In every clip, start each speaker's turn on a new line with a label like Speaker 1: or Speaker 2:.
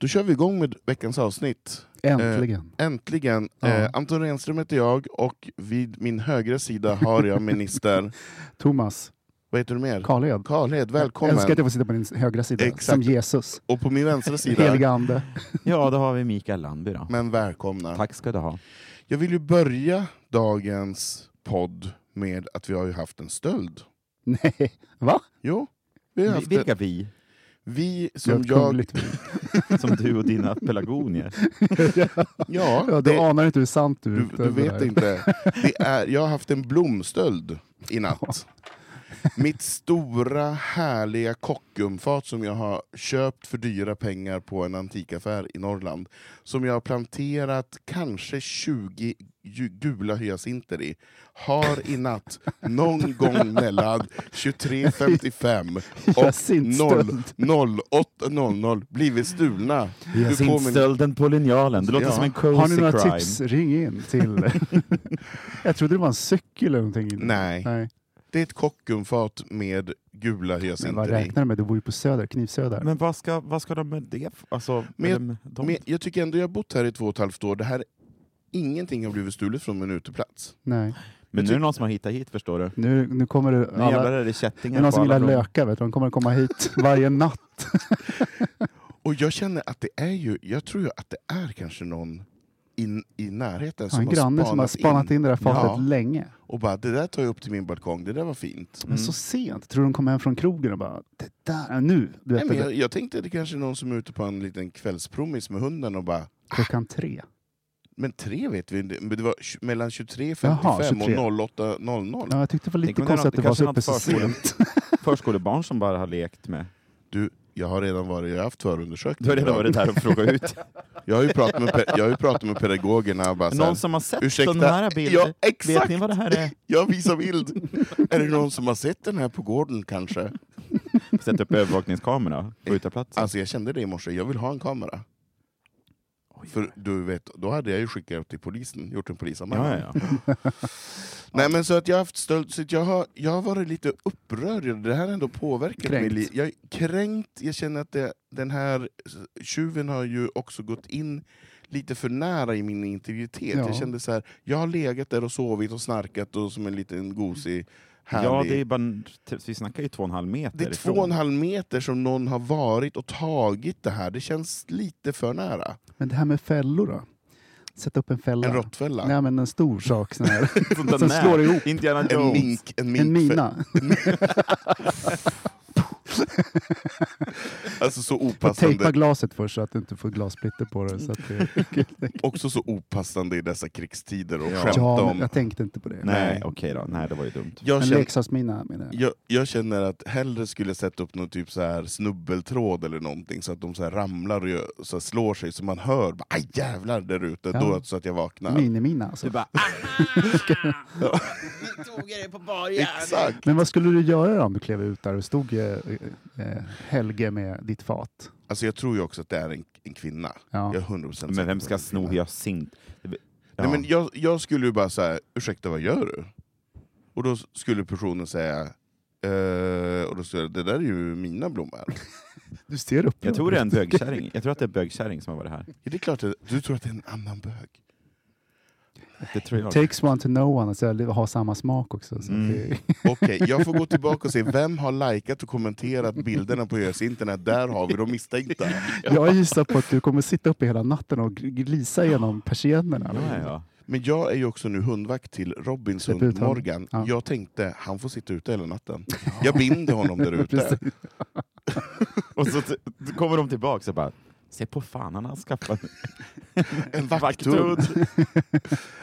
Speaker 1: då kör vi igång med veckans avsnitt.
Speaker 2: Äntligen.
Speaker 1: Eh, äntligen.
Speaker 2: Ja.
Speaker 1: Eh, Anton Renström heter jag och vid min högra sida har jag minister,
Speaker 2: Thomas
Speaker 1: vad heter du mer?
Speaker 2: Karlhed.
Speaker 1: Karlhed,
Speaker 2: Jag
Speaker 1: välkommen.
Speaker 2: älskar att jag får sitta på din högra sida,
Speaker 1: Exakt.
Speaker 2: som Jesus.
Speaker 1: Och på min vänstra sida,
Speaker 2: Heliga ande.
Speaker 3: Ja, då har vi Mikael Landby då.
Speaker 1: men välkomna.
Speaker 3: Tack ska du ha.
Speaker 1: Jag vill ju börja dagens podd med att vi har ju haft en stöld.
Speaker 2: Nej, va?
Speaker 1: Jo, vi har
Speaker 3: Vi-
Speaker 1: haft vi,
Speaker 3: Vilka vi?
Speaker 1: vi
Speaker 2: Det var
Speaker 1: som
Speaker 2: ett
Speaker 1: jag...
Speaker 2: kungligt-
Speaker 3: Som du och dina pelargonier.
Speaker 1: Ja,
Speaker 2: Ja, du
Speaker 1: det,
Speaker 2: anar inte hur sant du,
Speaker 1: du, du vet inte. Det är, jag har haft en blomstöld i natt. Mitt stora härliga kockumfat som jag har köpt för dyra pengar på en antikaffär i Norrland. Som jag har planterat kanske 20 ju- gula hyacinter i. Har i natt någon gång mellan 23.55 och
Speaker 2: Hyacintstöld.
Speaker 1: 0- 08.00 blivit stulna. Du påminner-
Speaker 3: Hyacintstölden på linjalen. Det låter
Speaker 1: Ja.
Speaker 3: som en
Speaker 2: Har ni
Speaker 3: cozy
Speaker 2: några
Speaker 3: crime.
Speaker 2: tips? Ring in till... jag trodde det var en cykel eller någonting.
Speaker 1: Nej.
Speaker 2: Nej.
Speaker 1: Det är ett kockumfat med gula
Speaker 2: Men vad
Speaker 1: hyacinter i.
Speaker 2: räknar du med? Du bor ju på Söder, Knivsöder.
Speaker 3: Men vad ska, vad ska de med det? f- Alltså,
Speaker 1: Men
Speaker 3: med,
Speaker 1: jag-
Speaker 3: med, de,
Speaker 1: Men jag tycker ändå jag har bott här i två och ett halvt år. Det här, ingenting har blivit stulet från min uteplats.
Speaker 2: Nej.
Speaker 3: men nu är det någon som har hittat hit förstår du.
Speaker 2: Nu, nu kommer det...
Speaker 3: Nu
Speaker 2: Alla,
Speaker 3: jävlar
Speaker 2: det
Speaker 3: är det
Speaker 2: är
Speaker 3: kättingar
Speaker 2: någon
Speaker 3: på
Speaker 2: som
Speaker 3: alla
Speaker 2: gillar
Speaker 3: de-
Speaker 2: lökar, vet du. De kommer komma hit varje natt.
Speaker 1: Och jag känner att det är ju, jag tror ju att det är kanske någon in, i närheten
Speaker 2: Har
Speaker 1: som
Speaker 2: en
Speaker 1: har,
Speaker 2: granne
Speaker 1: spanat
Speaker 2: som har spanat in, det där fatet
Speaker 1: Ja.
Speaker 2: länge.
Speaker 1: och bara det där tar jag upp till min balkong, det där var fint.
Speaker 2: Men så sent. Tror du de kom hem från krogen och bara det där, nu, du vet,
Speaker 1: Mm. Nej, men
Speaker 2: det,
Speaker 1: jag, jag tänkte att det kanske är någon som är ute på en liten kvällspromis med hunden och bara
Speaker 2: klockan tre.
Speaker 1: men tre vet vi, det- men det var tj- mellan 23.55
Speaker 2: Jaha, 23.
Speaker 1: och 08.00.
Speaker 2: Ja, jag tyckte det var
Speaker 3: Tänk
Speaker 2: lite
Speaker 3: om
Speaker 2: konstigt att
Speaker 3: det
Speaker 2: det var så
Speaker 3: något-
Speaker 2: uppe så
Speaker 3: kanske något
Speaker 2: sent.
Speaker 3: Förskolebarn som bara har lekt med...
Speaker 1: Du, jag har redan varit, jag har haft förundersökning.
Speaker 3: Du har redan
Speaker 1: idag.
Speaker 3: varit där och frågat ut.
Speaker 1: Jag har ju pratat med, pe- jag har ju pratat med pedagogerna och bara så här,
Speaker 3: Någon som har sett
Speaker 1: ursäkta,
Speaker 3: sådana här bilder?
Speaker 1: ja,
Speaker 3: Vet
Speaker 1: exakt.
Speaker 3: ni vad det här är?
Speaker 1: Jag visar bild. är det någon som har sett den här på gården kanske?
Speaker 3: Sätt upp övervakningskamera på uteplatsen.
Speaker 1: Alltså jag kände det i morse, jag vill ha en kamera. För du vet, då hade jag ju skickat till polisen, gjort en polisanmälan.
Speaker 3: Ja, ja, ja.
Speaker 1: Nej men så att jag har haft stöld, så att jag har, jag har varit lite upprörd, det här har ändå påverkat
Speaker 2: Kränkt.
Speaker 1: mitt liv. Jag är kränkt, jag känner att det, den här tjuven har ju också gått in lite för nära i min integritet.
Speaker 2: Ja.
Speaker 1: Jag kände så här, jag har legat där och sovit och snarkat och som en liten gosig, härlig...
Speaker 3: ja det är bara, vi snackar ju två och en halv meter
Speaker 1: Det är två
Speaker 3: ifrån.
Speaker 1: och en halv meter som någon har varit och tagit det här. Det känns lite för nära.
Speaker 2: Men det här med fällor då? Sätta upp en fälla.
Speaker 1: En råttfälla.
Speaker 2: Nej, men en stor sak. Sån här.
Speaker 3: Sånt där
Speaker 2: Som
Speaker 3: nät.
Speaker 2: slår ihop.
Speaker 3: Indiana
Speaker 1: En
Speaker 3: Jones.
Speaker 1: mink. En, mink
Speaker 2: en mina.
Speaker 1: Alltså så
Speaker 2: Och tejpa
Speaker 1: opassande,
Speaker 2: glaset först så att du inte får glassplitter på det. Så att det
Speaker 1: också så opassande i dessa krigstider och
Speaker 3: Ja.
Speaker 1: skämta
Speaker 2: ja, men
Speaker 1: om.
Speaker 2: jag tänkte inte på det.
Speaker 3: Nej, okej då. Nej, det var ju dumt.
Speaker 1: Jag
Speaker 2: En
Speaker 1: känner,
Speaker 2: leksaksmina menar jag.
Speaker 1: jag, jag känner att hellre skulle jag sätta upp någon typ så här snubbeltråd eller någonting så att de så här ramlar och gör- så här slår sig så man hör bara, aj jävlar där ute,
Speaker 2: Ja.
Speaker 1: då, så att jag vaknar.
Speaker 2: Minimina alltså.
Speaker 1: Exakt!
Speaker 2: Men vad skulle du göra då om du klev ut där och stod eh, eh, Helge eh, med ditt fat?
Speaker 1: Alltså jag tror ju också att det är en, en kvinna.
Speaker 2: Ja.
Speaker 1: Jag är 100% säker
Speaker 3: Men vem
Speaker 1: på
Speaker 3: ska
Speaker 1: att det är en
Speaker 3: sno
Speaker 1: kvinna.
Speaker 3: hyacint? Ja.
Speaker 1: Nej, men jag, jag skulle ju bara säga, ursäkta vad gör du? Och då skulle personen säga, eh, och då skulle jag, det där är ju mina blommor.
Speaker 2: Du ser upp.
Speaker 3: Jag tror det är en bögkärring. Jag tror att det är en bögkärring som har varit här.
Speaker 1: Ja, det är klart, det- du tror att det är en annan bög?
Speaker 3: Det tror jag.
Speaker 2: Takes one to know one, alltså, eller ha samma smak också. Så
Speaker 1: Mm.
Speaker 2: det,
Speaker 1: Okej, jag får gå tillbaka och se vem har likat och kommenterat bilderna på Ös internet. Där har vi de misstänkta.
Speaker 2: jag gissar på att du kommer sitta uppe hela natten och glisa genom persiennerna.
Speaker 3: Ja, ja.
Speaker 1: Men jag är ju också nu hundvakt till Robins
Speaker 2: Släpp ut
Speaker 1: hund
Speaker 2: honom.
Speaker 1: Morgan.
Speaker 2: Ja.
Speaker 1: Jag tänkte, han får sitta ute hela natten. Jag binder honom där ute.
Speaker 2: Precis.
Speaker 3: Och så t- kommer de tillbaka och bara Se på fan, han har skaffat
Speaker 1: En vakthund.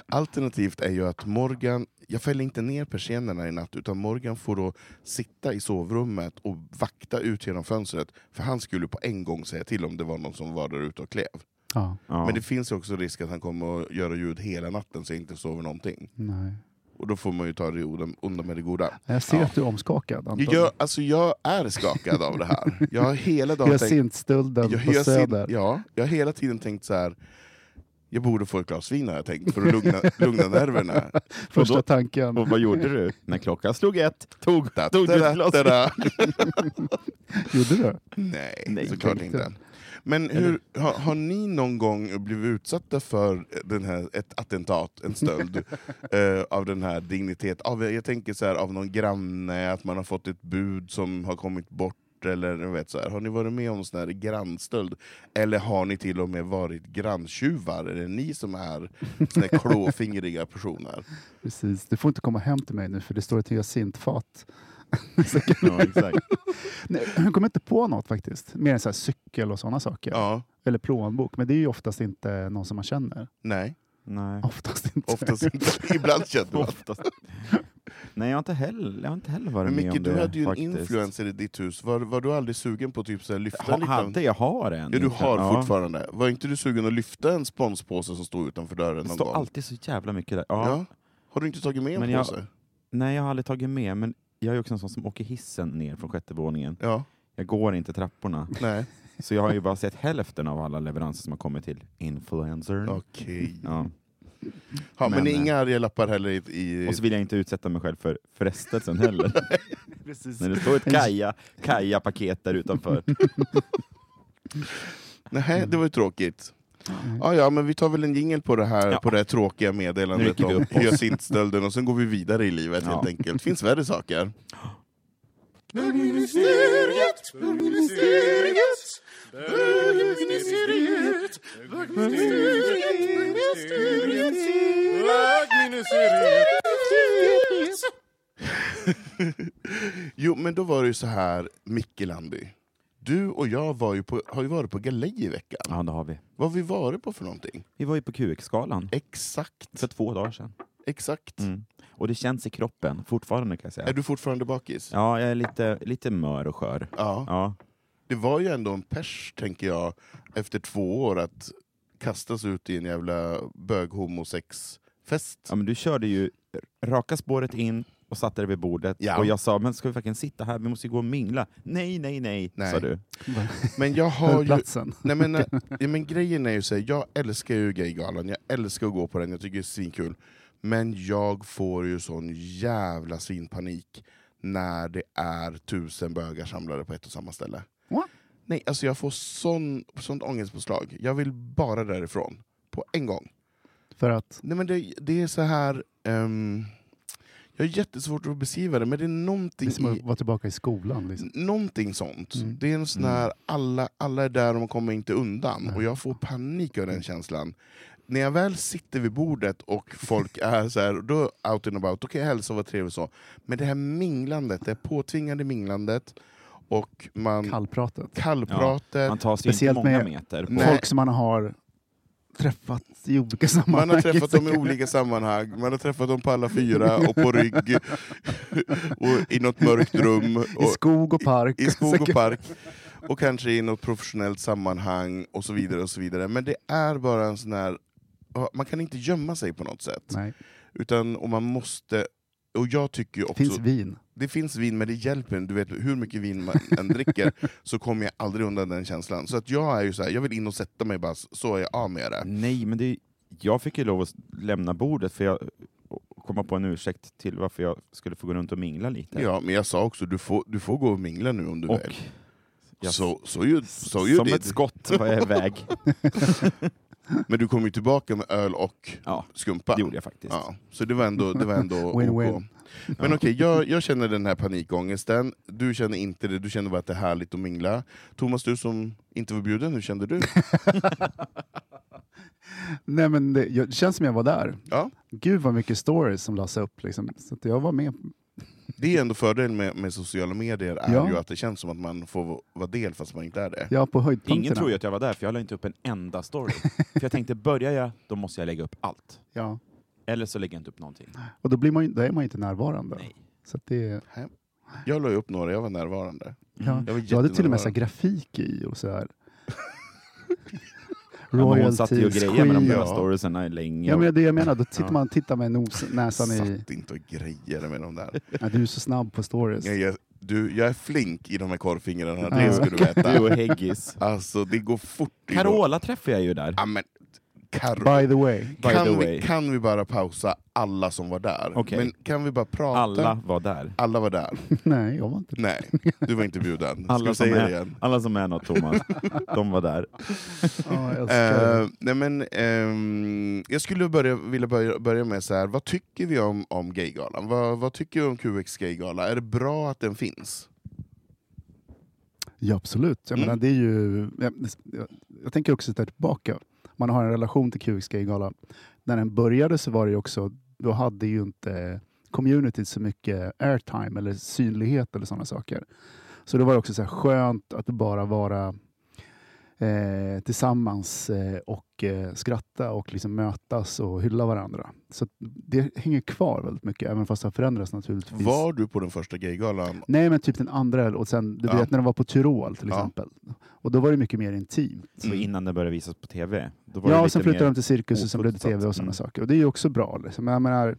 Speaker 1: Alternativt är ju att Morgan, jag fäller inte ner persiennerna i natt, utan Morgan får då sitta i sovrummet och vakta ut genom fönstret. För han skulle på en gång säga till om det var någon som var där ute och klev.
Speaker 2: Ja,
Speaker 3: Ja.
Speaker 1: Men det finns ju också risk att han kommer att göra ljud hela natten så jag inte sover någonting.
Speaker 2: nej.
Speaker 1: Och då får man ju ta det onda- onda med det goda.
Speaker 2: Jag ser
Speaker 1: Ja.
Speaker 2: att du är omskakad Anton.
Speaker 1: Jag, alltså jag är skakad av det här. Jag har hela dagen tänkt...
Speaker 2: Hyacintstölden
Speaker 1: Jag,
Speaker 2: på
Speaker 1: jag,
Speaker 2: Söder.
Speaker 1: sin, ja, jag har hela tiden tänkt så här. jag borde få ett glas vin har jag tänkt, för att lugna, lugna nerverna.
Speaker 2: Första
Speaker 3: Och då-
Speaker 2: tanken.
Speaker 3: Och vad gjorde du? När klockan slog ett tog,
Speaker 1: Da,
Speaker 3: tog du
Speaker 1: da,
Speaker 3: ett glas.
Speaker 1: da, da.
Speaker 2: Gjorde du?
Speaker 1: Nej,
Speaker 3: Mm. Nej,
Speaker 1: såklart
Speaker 2: tänkte.
Speaker 1: inte. Men hur, har, har ni någon gång blivit utsatta för den här, ett attentat, en stöld, eh, av den här dignitet? Av, jag tänker så här, av någon granne, att man har fått ett bud som har kommit bort, eller jag vet så här. Har ni varit med om sån här grannstöld? Eller har ni till och med varit granntjuvar? Är det ni som är såna här klåfingriga personer?
Speaker 2: Precis. Du får inte komma hem till mig nu för det står ett hyacintfat.
Speaker 3: Ja, exakt.
Speaker 2: Nej, Jag kommer inte på något faktiskt. Mer än så här cykel och sådana saker.
Speaker 1: Ja.
Speaker 2: Eller plånbok. Men det är ju oftast inte någon som man känner.
Speaker 1: Nej,
Speaker 3: Nej.
Speaker 2: Oftast inte.
Speaker 1: oftast inte. Ibland känner man
Speaker 3: Oftast. Nej, jag har inte heller, jag har inte heller varit
Speaker 1: Men
Speaker 3: med om
Speaker 1: Micke,
Speaker 3: det.
Speaker 1: du hade ju en
Speaker 3: faktiskt.
Speaker 1: influencer i ditt hus. Var, var du aldrig sugen på att typ så här lyfta
Speaker 3: Ha,
Speaker 1: en liten...
Speaker 3: hade, jag har en.
Speaker 1: Ja, du har
Speaker 3: influencer.
Speaker 1: fortfarande. Var inte du sugen att lyfta en sponspåse som stod utanför dörren
Speaker 3: Det
Speaker 1: någon
Speaker 3: står
Speaker 1: gång?
Speaker 3: alltid så jävla mycket där. Ja.
Speaker 1: Ja. Har du inte tagit med en
Speaker 3: Men jag-
Speaker 1: påse?
Speaker 3: Nej, jag har aldrig tagit med, men jag är också en sån som åker hissen ner från sjätte våningen.
Speaker 1: Ja,
Speaker 3: Jag går inte trapporna.
Speaker 1: nej.
Speaker 3: Så jag har ju bara sett hälften av alla leveranser som har kommit till influencern.
Speaker 1: Okej.
Speaker 3: Ja.
Speaker 1: Ja, men,
Speaker 3: Men, eh,
Speaker 1: inga arga lappar heller i... i...
Speaker 3: Och så vill jag inte utsätta mig själv för frestelsen heller.
Speaker 2: Precis.
Speaker 3: När det står ett kaja, kaja-paket där utanför.
Speaker 1: Nej, det var ju tråkigt. Ja, ja, men vi tar väl en jingel på det här
Speaker 3: Ja.
Speaker 1: på det här tråkiga
Speaker 3: Nu
Speaker 1: meddelandet
Speaker 3: rycker vi
Speaker 1: om
Speaker 3: upp oss.
Speaker 1: hyacintstölden och sen går vi vidare i livet
Speaker 3: Ja.
Speaker 1: helt enkelt. Finns värre saker. Jo, men då var det ju så här, Micke Landby. Du och jag var ju på, har ju varit på galej i veckan.
Speaker 3: Ja, det har vi.
Speaker 1: Vad har vi varit på för någonting?
Speaker 3: Vi var ju på QX-galan
Speaker 1: Exakt.
Speaker 3: för två dagar sedan.
Speaker 1: Exakt.
Speaker 3: Mm. Och det känns i kroppen fortfarande kan jag säga.
Speaker 1: Är du fortfarande bakis?
Speaker 3: Ja, jag är lite, lite mör och skör.
Speaker 1: Ja.
Speaker 3: Ja.
Speaker 1: Det var ju ändå en pers, tänker jag, efter två år att kastas ut i en jävla bög-homosexfest.
Speaker 3: ja, men du körde ju raka spåret in och satte dig vid bordet.
Speaker 1: Ja.
Speaker 3: Och jag sa, men ska vi verkligen sitta här? Vi måste ju gå och mingla. Nej, nej, nej,
Speaker 1: Nej. Eh,
Speaker 3: sa du.
Speaker 1: Men jag har
Speaker 2: Höll
Speaker 1: ju...
Speaker 2: platsen.
Speaker 1: Nej, men, eh, ja, men grejen är ju så här, jag älskar ju Gaygalan, jag älskar att gå på den, jag tycker det är svinkul. Men jag får ju sån jävla svinpanik när det är tusen bögar samlade på ett och samma ställe.
Speaker 2: Va?
Speaker 1: Nej, alltså jag får sån, sånt ångestpåslag. Jag vill bara därifrån. På en gång.
Speaker 2: För att
Speaker 1: Nej, men det, det är så här... ehm, jag har jättesvårt att beskriva det, men det är
Speaker 2: det
Speaker 1: någonting
Speaker 2: är som
Speaker 1: i
Speaker 2: att vara tillbaka i skolan. Liksom.
Speaker 1: Någonting sånt. Det är en sån här, alla, alla är där och man kommer inte undan. Och jag får panik av den känslan. När jag väl sitter vid bordet och folk är så här, då out and about, okej hälsa vad trevligt så. Men det här minglandet, det här påtvingade minglandet och man...
Speaker 2: Kallpratet.
Speaker 1: Kallpratet.
Speaker 3: Man tar sig inte
Speaker 2: Speciellt
Speaker 3: många
Speaker 2: med-
Speaker 3: meter. På.
Speaker 1: Nej.
Speaker 2: Folk som man har träffat i olika sammanhang.
Speaker 1: Man har träffat dem i
Speaker 2: säkert.
Speaker 1: olika sammanhang, man har träffat dem på alla fyra och på rygg och i något mörkt rum.
Speaker 2: I
Speaker 1: Och,
Speaker 2: skog och park.
Speaker 1: I skog och
Speaker 2: Säkert.
Speaker 1: park. Och kanske i något professionellt sammanhang och så vidare. och så vidare. Men det är bara en sån här... Man kan inte gömma sig på något sätt.
Speaker 2: Nej.
Speaker 1: Utan, och man måste och jag tycker ju också...
Speaker 2: finns vin.
Speaker 1: det finns vin, men det hjälper inte. Du vet hur mycket vin man än dricker så kommer jag aldrig undan den känslan. Så att jag är ju så här, jag vill in och sätta mig bara, så är jag av med det.
Speaker 3: Nej, men det, jag fick ju lov att lämna bordet för jag komma på en ursäkt till varför jag skulle få gå runt och mingla lite.
Speaker 1: Ja, men jag sa också, du får, du får gå och mingla nu om du
Speaker 3: Mm. och
Speaker 1: vill.
Speaker 3: jag,
Speaker 1: Så, så ju, så ju
Speaker 3: som
Speaker 1: det.
Speaker 3: ett skott var jag iväg.
Speaker 1: Men du kom ju tillbaka med öl och
Speaker 3: Ja,
Speaker 1: skumpa.
Speaker 3: det gjorde jag faktiskt.
Speaker 1: Ja, så det var ändå, det var ändå
Speaker 2: Win-win.
Speaker 1: OK. Men okej, jag, jag känner den här panikångesten, du känner inte det, du känner bara att det är härligt att mingla. Thomas, du som inte var bjuden, hur kände du?
Speaker 2: Nej, men det, jag, det känns som jag var där.
Speaker 1: Ja,
Speaker 2: Gud vad mycket stories som lades upp. Liksom. Så att jag var med.
Speaker 1: det är ändå fördelen med, med sociala medier, är
Speaker 2: Ja.
Speaker 1: ju att det känns som att man får vara del fast man inte är det.
Speaker 2: Jag var på höjdpunkterna.
Speaker 3: Ingen tror ju att jag var där, för jag la inte upp en enda story. för jag tänkte, börjar jag, då måste jag lägga upp allt.
Speaker 2: Ja.
Speaker 3: Eller så lägger jag inte upp någonting.
Speaker 2: Och då, blir man, ju- då är man ju inte närvarande. Så att det, är-
Speaker 1: Jag la ju upp några, jag var närvarande.
Speaker 2: ja.
Speaker 1: Mm. Jag var
Speaker 2: Jag hade till och med så här
Speaker 1: jättenärvarande.
Speaker 2: grafik i och så här.
Speaker 3: Ja, men hon satt ju och
Speaker 2: Royalties,
Speaker 3: grejade med de
Speaker 2: skit.
Speaker 3: där
Speaker 1: Ja.
Speaker 3: storiesarna länge.
Speaker 2: Ja, men det är det jag menar. Då tittar
Speaker 3: Ja.
Speaker 2: man tittar med nos, näsan i...
Speaker 1: Satt inte och grejade med de där.
Speaker 2: Ja, du är så snabb på stories.
Speaker 1: Jag, jag, du, jag är flink i de här korvfingrarna, det ska du veta.
Speaker 3: Du och Heggis.
Speaker 1: Alltså, det går fort. i vår-
Speaker 3: Carola träffade jag ju där.
Speaker 1: Ja, men, Karo-
Speaker 2: By the way.
Speaker 3: By the
Speaker 1: kan,
Speaker 3: way.
Speaker 1: vi, kan vi bara pausa alla som var där?
Speaker 3: Okej.
Speaker 1: Men kan vi bara prata?
Speaker 3: Alla var där.
Speaker 1: Alla var där.
Speaker 2: Nej, jag var inte där.
Speaker 1: Nej, du var inte bjuden. Ska
Speaker 3: Alla
Speaker 1: vi
Speaker 3: som,
Speaker 1: säga det
Speaker 3: är,
Speaker 1: igen?
Speaker 3: alla som är något, Thomas. De var där.
Speaker 2: Ja, jag älskar det.
Speaker 1: Eh, nej men, ehm, jag skulle börja, vilja börja, börja med så här. vad tycker vi om, om Gaygalan? Vad, vad tycker vi om QX Gaygala? Är det bra att den finns?
Speaker 2: Ja, absolut. Jag,
Speaker 1: Mm.
Speaker 2: menar, det är ju, jag, jag, jag tänker också titta tillbaka. Man har en relation till QX Gala. När den började så var det ju också, då hade ju inte communityt så mycket airtime eller synlighet eller sådana saker. Så det var också så här skönt att bara vara eh, tillsammans eh, och eh, skratta och liksom mötas och hylla varandra. Så att det hänger kvar väldigt mycket, även fast det har förändrats naturligtvis.
Speaker 1: Var du på den första Gaygalan?
Speaker 2: Nej, men typ den andra. eller- Och sen, du
Speaker 1: Ja.
Speaker 2: vet när de var på Tyrol till
Speaker 1: Ja.
Speaker 2: exempel. Och då var det mycket mer intimt.
Speaker 3: Så
Speaker 1: Mm.
Speaker 3: innan det började visas på TV. Då var
Speaker 2: Ja,
Speaker 3: det
Speaker 2: och
Speaker 3: lite
Speaker 2: sen flyttade
Speaker 3: mer...
Speaker 2: de till cirkus och sen blev det
Speaker 3: ofullsatt.
Speaker 2: tv och sådana
Speaker 3: Mm.
Speaker 2: saker. Och det är ju också bra. Liksom. Men Jag menar,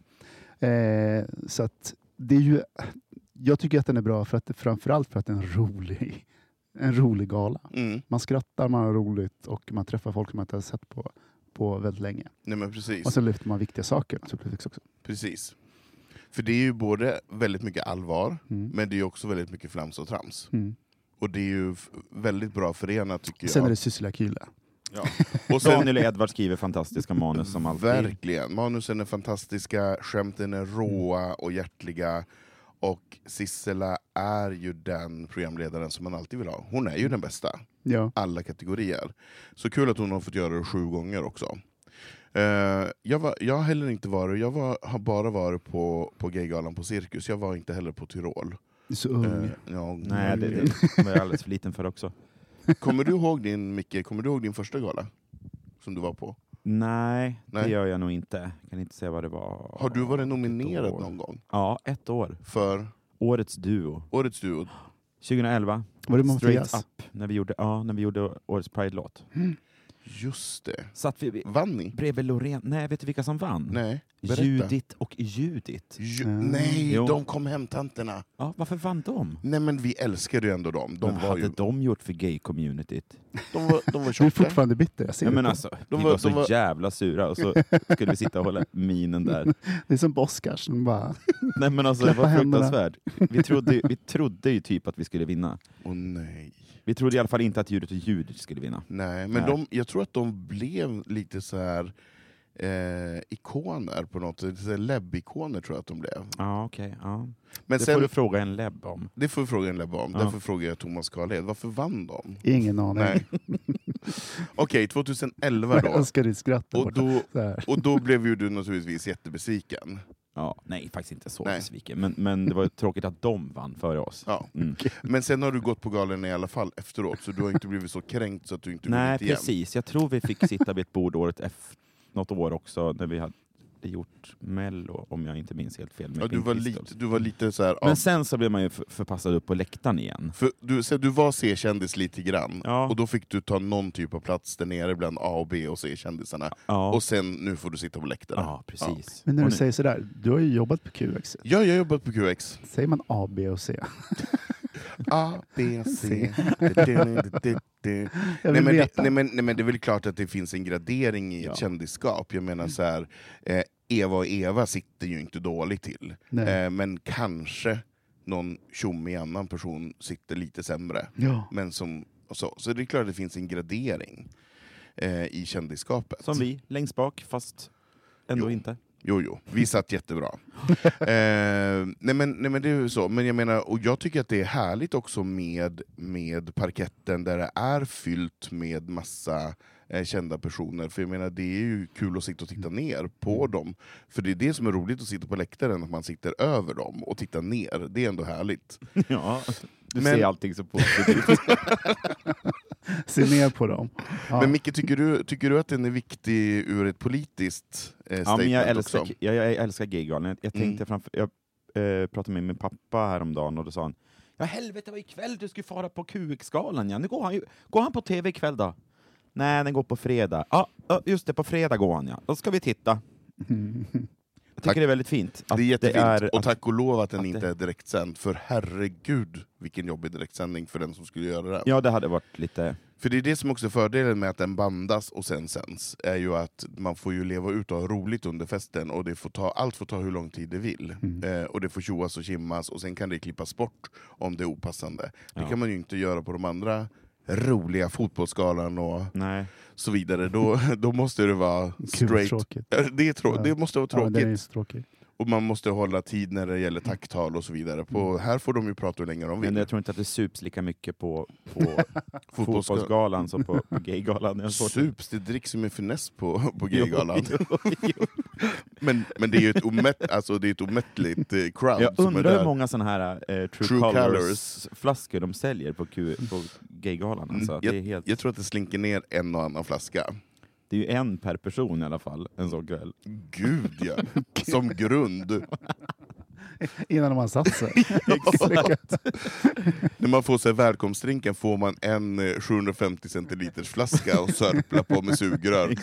Speaker 2: eh, så att det är ju, jag tycker att den är bra för att, framförallt för att den är rolig. En rolig gala.
Speaker 1: Mm.
Speaker 2: Man skrattar, man har roligt och man träffar folk som man inte har sett på, på väldigt länge.
Speaker 1: Nej men precis.
Speaker 2: Och så lyfter man viktiga saker naturligtvis också.
Speaker 1: precis. För det är ju både väldigt mycket allvar,
Speaker 2: Mm.
Speaker 1: men det är ju också väldigt mycket flams och trams.
Speaker 2: Mm.
Speaker 1: Och det är ju f- väldigt bra förenat tycker
Speaker 2: Sen är
Speaker 1: jag.
Speaker 2: det Sissela Kyle.
Speaker 1: och sen,
Speaker 3: Daniel och Edvard skriver fantastiska manus som alltid.
Speaker 1: Verkligen. Manusen är fantastiska, skämten är
Speaker 3: Mm.
Speaker 1: råa och hjärtliga. Och Sissela är ju den programledaren som man alltid vill ha. Hon är ju den bästa,
Speaker 2: Ja.
Speaker 1: alla kategorier. Så kul att hon har fått göra det sju gånger också. Eh, jag, var, jag har heller inte varit, jag var, har bara varit på, på Gaygalan på Cirkus, jag var inte heller på Tyrol.
Speaker 2: Du är så ung.
Speaker 1: Eh, ja,
Speaker 3: Nej, det, det var jag alldeles för liten för också.
Speaker 1: Kommer du ihåg din, Micke, kommer du ihåg din första gala? Som du var på?
Speaker 3: Nej, det
Speaker 1: Nej.
Speaker 3: gör jag nog inte. Jag kan inte säga vad det var.
Speaker 1: Har du varit nominerad
Speaker 3: år.
Speaker 1: någon gång?
Speaker 3: Ja, ett år.
Speaker 1: För
Speaker 3: Årets duo.
Speaker 1: Årets Duo?
Speaker 3: 2011.
Speaker 2: Var det
Speaker 3: Straight
Speaker 2: Mattias?
Speaker 3: up. När vi gjorde, ja, när vi gjorde årets Pride-låt.
Speaker 1: Just det.
Speaker 3: Satt vi
Speaker 1: Vann ni?
Speaker 3: bredvid Loreen. Nej, vet du vilka som vann?
Speaker 1: Nej, berätta.
Speaker 3: Judit och Judit.
Speaker 1: Ju-
Speaker 2: Mm.
Speaker 1: Nej,
Speaker 3: Jo.
Speaker 1: de kom hem tanterna.
Speaker 3: Ja, varför vann de?
Speaker 1: Nej men vi älskade ju ändå dem. De
Speaker 3: Men vad
Speaker 1: var
Speaker 3: hade
Speaker 1: ju
Speaker 3: de gjort för gay-communityt?
Speaker 1: de var, de var
Speaker 2: Du är
Speaker 1: tjocka.
Speaker 2: fortfarande bitter, jag ser
Speaker 3: Ja,
Speaker 2: det.
Speaker 3: men alltså,
Speaker 1: de
Speaker 3: vi
Speaker 1: var-
Speaker 3: var, så
Speaker 1: de var-
Speaker 3: jävla sura och så skulle vi sitta och hålla minen där.
Speaker 2: Det är som på Oscars. De bara,
Speaker 3: Nej men alltså
Speaker 2: Klappa
Speaker 3: det var
Speaker 2: händerna.
Speaker 3: fruktansvärt. Vi trodde, ju- vi trodde ju typ att vi skulle vinna.
Speaker 1: Åh nej.
Speaker 3: Vi trodde i alla fall inte att Judit och Judit skulle vinna.
Speaker 1: nej. Men
Speaker 3: Nej.
Speaker 1: de, jag tror att de blev lite så här eh, ikoner på något sätt. Så här Lebb-ikoner tror jag att de blev.
Speaker 3: Ja okej, ja.
Speaker 1: Men
Speaker 3: Det
Speaker 1: sen,
Speaker 3: får du fråga en lebb om.
Speaker 1: det får vi fråga en Lebb om.
Speaker 3: Ja.
Speaker 1: Därför frågar jag Thomas Carlhed. Varför vann de?
Speaker 2: ingen aning.
Speaker 1: Nej. Okej, 2011
Speaker 2: jag
Speaker 1: då.
Speaker 2: älskar ditt skratt där
Speaker 1: Och
Speaker 2: borta.
Speaker 1: då,
Speaker 2: Så här.
Speaker 1: och då blev ju du naturligtvis jättebesviken.
Speaker 3: Ja, nej faktiskt inte så
Speaker 1: Nej.
Speaker 3: besviken, men, men det var ju tråkigt att de vann före oss.
Speaker 1: Ja.
Speaker 3: Mm.
Speaker 1: Men sen har du gått på galen i alla fall efteråt, så du har inte blivit så kränkt så att du inte vill
Speaker 3: Nej
Speaker 1: dit igen.
Speaker 3: precis, jag tror vi fick sitta vid ett bord året efter, något år också, när vi hade hade gjort Mello, om jag inte minns helt fel. med
Speaker 1: Ja, du,
Speaker 3: Pink
Speaker 1: var
Speaker 3: Pistols.
Speaker 1: lite, du var lite så här... ja,
Speaker 3: Men sen så blev man ju f- förpassad upp på läktaren igen.
Speaker 1: För du, så du var C-kändis lite grann,
Speaker 3: Ja.
Speaker 1: och då fick du ta någon typ av plats där nere bland A och B och C-kändisarna.
Speaker 3: Ja,
Speaker 1: Och sen, nu får du sitta på läktaren.
Speaker 3: ja precis.
Speaker 2: Men när
Speaker 3: Och
Speaker 2: du
Speaker 3: nu-
Speaker 2: säger sådär, du har ju jobbat på QX.
Speaker 1: Ja, jag har jobbat på QX.
Speaker 2: Säger man A, B och C?
Speaker 1: A, B,
Speaker 2: C. Jag
Speaker 1: Nej
Speaker 2: vill
Speaker 1: men, det,
Speaker 2: veta.
Speaker 1: nej, men, nej men det är väl klart att det finns en gradering i ett kändisskap. Jag menar så här, eh, Eva och Eva sitter ju inte dåligt till.
Speaker 2: Nej.
Speaker 1: Eh, men kanske någon tjommig annan person sitter lite sämre.
Speaker 2: Ja.
Speaker 1: Men som, och så. så det är klart att det finns en gradering eh, i kändisskapet.
Speaker 3: Som vi, längst bak, fast ändå
Speaker 1: Jo.
Speaker 3: inte.
Speaker 1: Jo, jo. Vi satt jättebra. eh, nej, men, nej men det är ju så. Men jag menar, och jag tycker att det är härligt också med, med parketten där det är fyllt med massa eh, kända personer. För jag menar, det är ju kul att sitta och titta ner på dem. För det är det som är roligt att sitta på läktaren, att man sitter över dem och tittar ner. Det är ändå härligt.
Speaker 3: Ja, du
Speaker 1: Men-
Speaker 3: ser allting så positivt ut.
Speaker 2: Se ner på dem. Ja.
Speaker 1: Men Micke, tycker du, tycker du att den är viktig ur ett politiskt eh,
Speaker 3: ja,
Speaker 1: statement
Speaker 3: men jag älskar,
Speaker 1: också?
Speaker 3: jag, jag älskar gaygalan. Jag, jag, tänkte
Speaker 1: Mm.
Speaker 3: framför, jag eh, pratade med min pappa häromdagen och då sa han Ja helvete vad ikväll du skulle fara på QX-galan ja. Nu går han ju, går han på TV ikväll då? Nej, den går på fredag. Ja, ja, just det, på fredag går han ja. Då ska vi titta.
Speaker 2: Mm.
Speaker 3: Jag tycker
Speaker 1: Tack.
Speaker 3: det är väldigt fint. att
Speaker 1: det är jättefint,
Speaker 3: är-
Speaker 1: och tack och lov att den
Speaker 3: att det-
Speaker 1: inte är direktsänd, för herregud vilken jobbig direktsändning för den som skulle göra den.
Speaker 3: Ja, det hade varit lite...
Speaker 1: För det är det som också är fördelen med att den bandas och sen sänds, är ju att man får ju leva ut och ha roligt under festen, och det får ta, allt får ta hur lång tid det vill. Eh, och det får tjoas och kimmas, och sen kan det klippas bort om det är opassande. Det
Speaker 3: Ja.
Speaker 1: kan man ju inte göra på de andra roliga fotbollsskalan och
Speaker 3: Nej.
Speaker 1: så vidare. Då, då måste det vara
Speaker 2: Kul,
Speaker 1: straight. Eh,
Speaker 2: tråkigt.
Speaker 1: Det, är trå-
Speaker 2: Ja.
Speaker 1: det måste vara
Speaker 2: Ja,
Speaker 1: tråkigt.
Speaker 2: den är ju så tråkig.
Speaker 1: Och man måste hålla tid när det gäller takttal och så vidare. På, Här får de ju prata hur länge de vill.
Speaker 3: Mm. Men jag tror inte att det sups lika mycket på, på
Speaker 1: Fotbollsga-
Speaker 3: fotbollsgalan som på, på gaygalan. Jag har svårt-
Speaker 1: Sups, det dricks ju med finess på, på gaygalan.
Speaker 3: Jo, jo, jo.
Speaker 1: Men, men det är ju ett, omätt, alltså, det är ett omättligt eh, crowd
Speaker 3: Jag
Speaker 1: som är
Speaker 3: undrar hur
Speaker 1: där.
Speaker 3: många sådana här eh, True,
Speaker 1: True Colours.
Speaker 3: Colors-flaskor de säljer på, Q, på Gaygalan. Alltså.
Speaker 1: jag,
Speaker 3: det, är helt,
Speaker 1: jag tror att det slinker ner en och annan flaska.
Speaker 3: det är ju en per person i alla fall, en sån kväll.
Speaker 1: Gud ja! Som grund.
Speaker 2: Innan man satt sig.
Speaker 1: När man får sig välkomstdrinken får man en eh, 750 centiliters flaska och sörpla på med sugrör.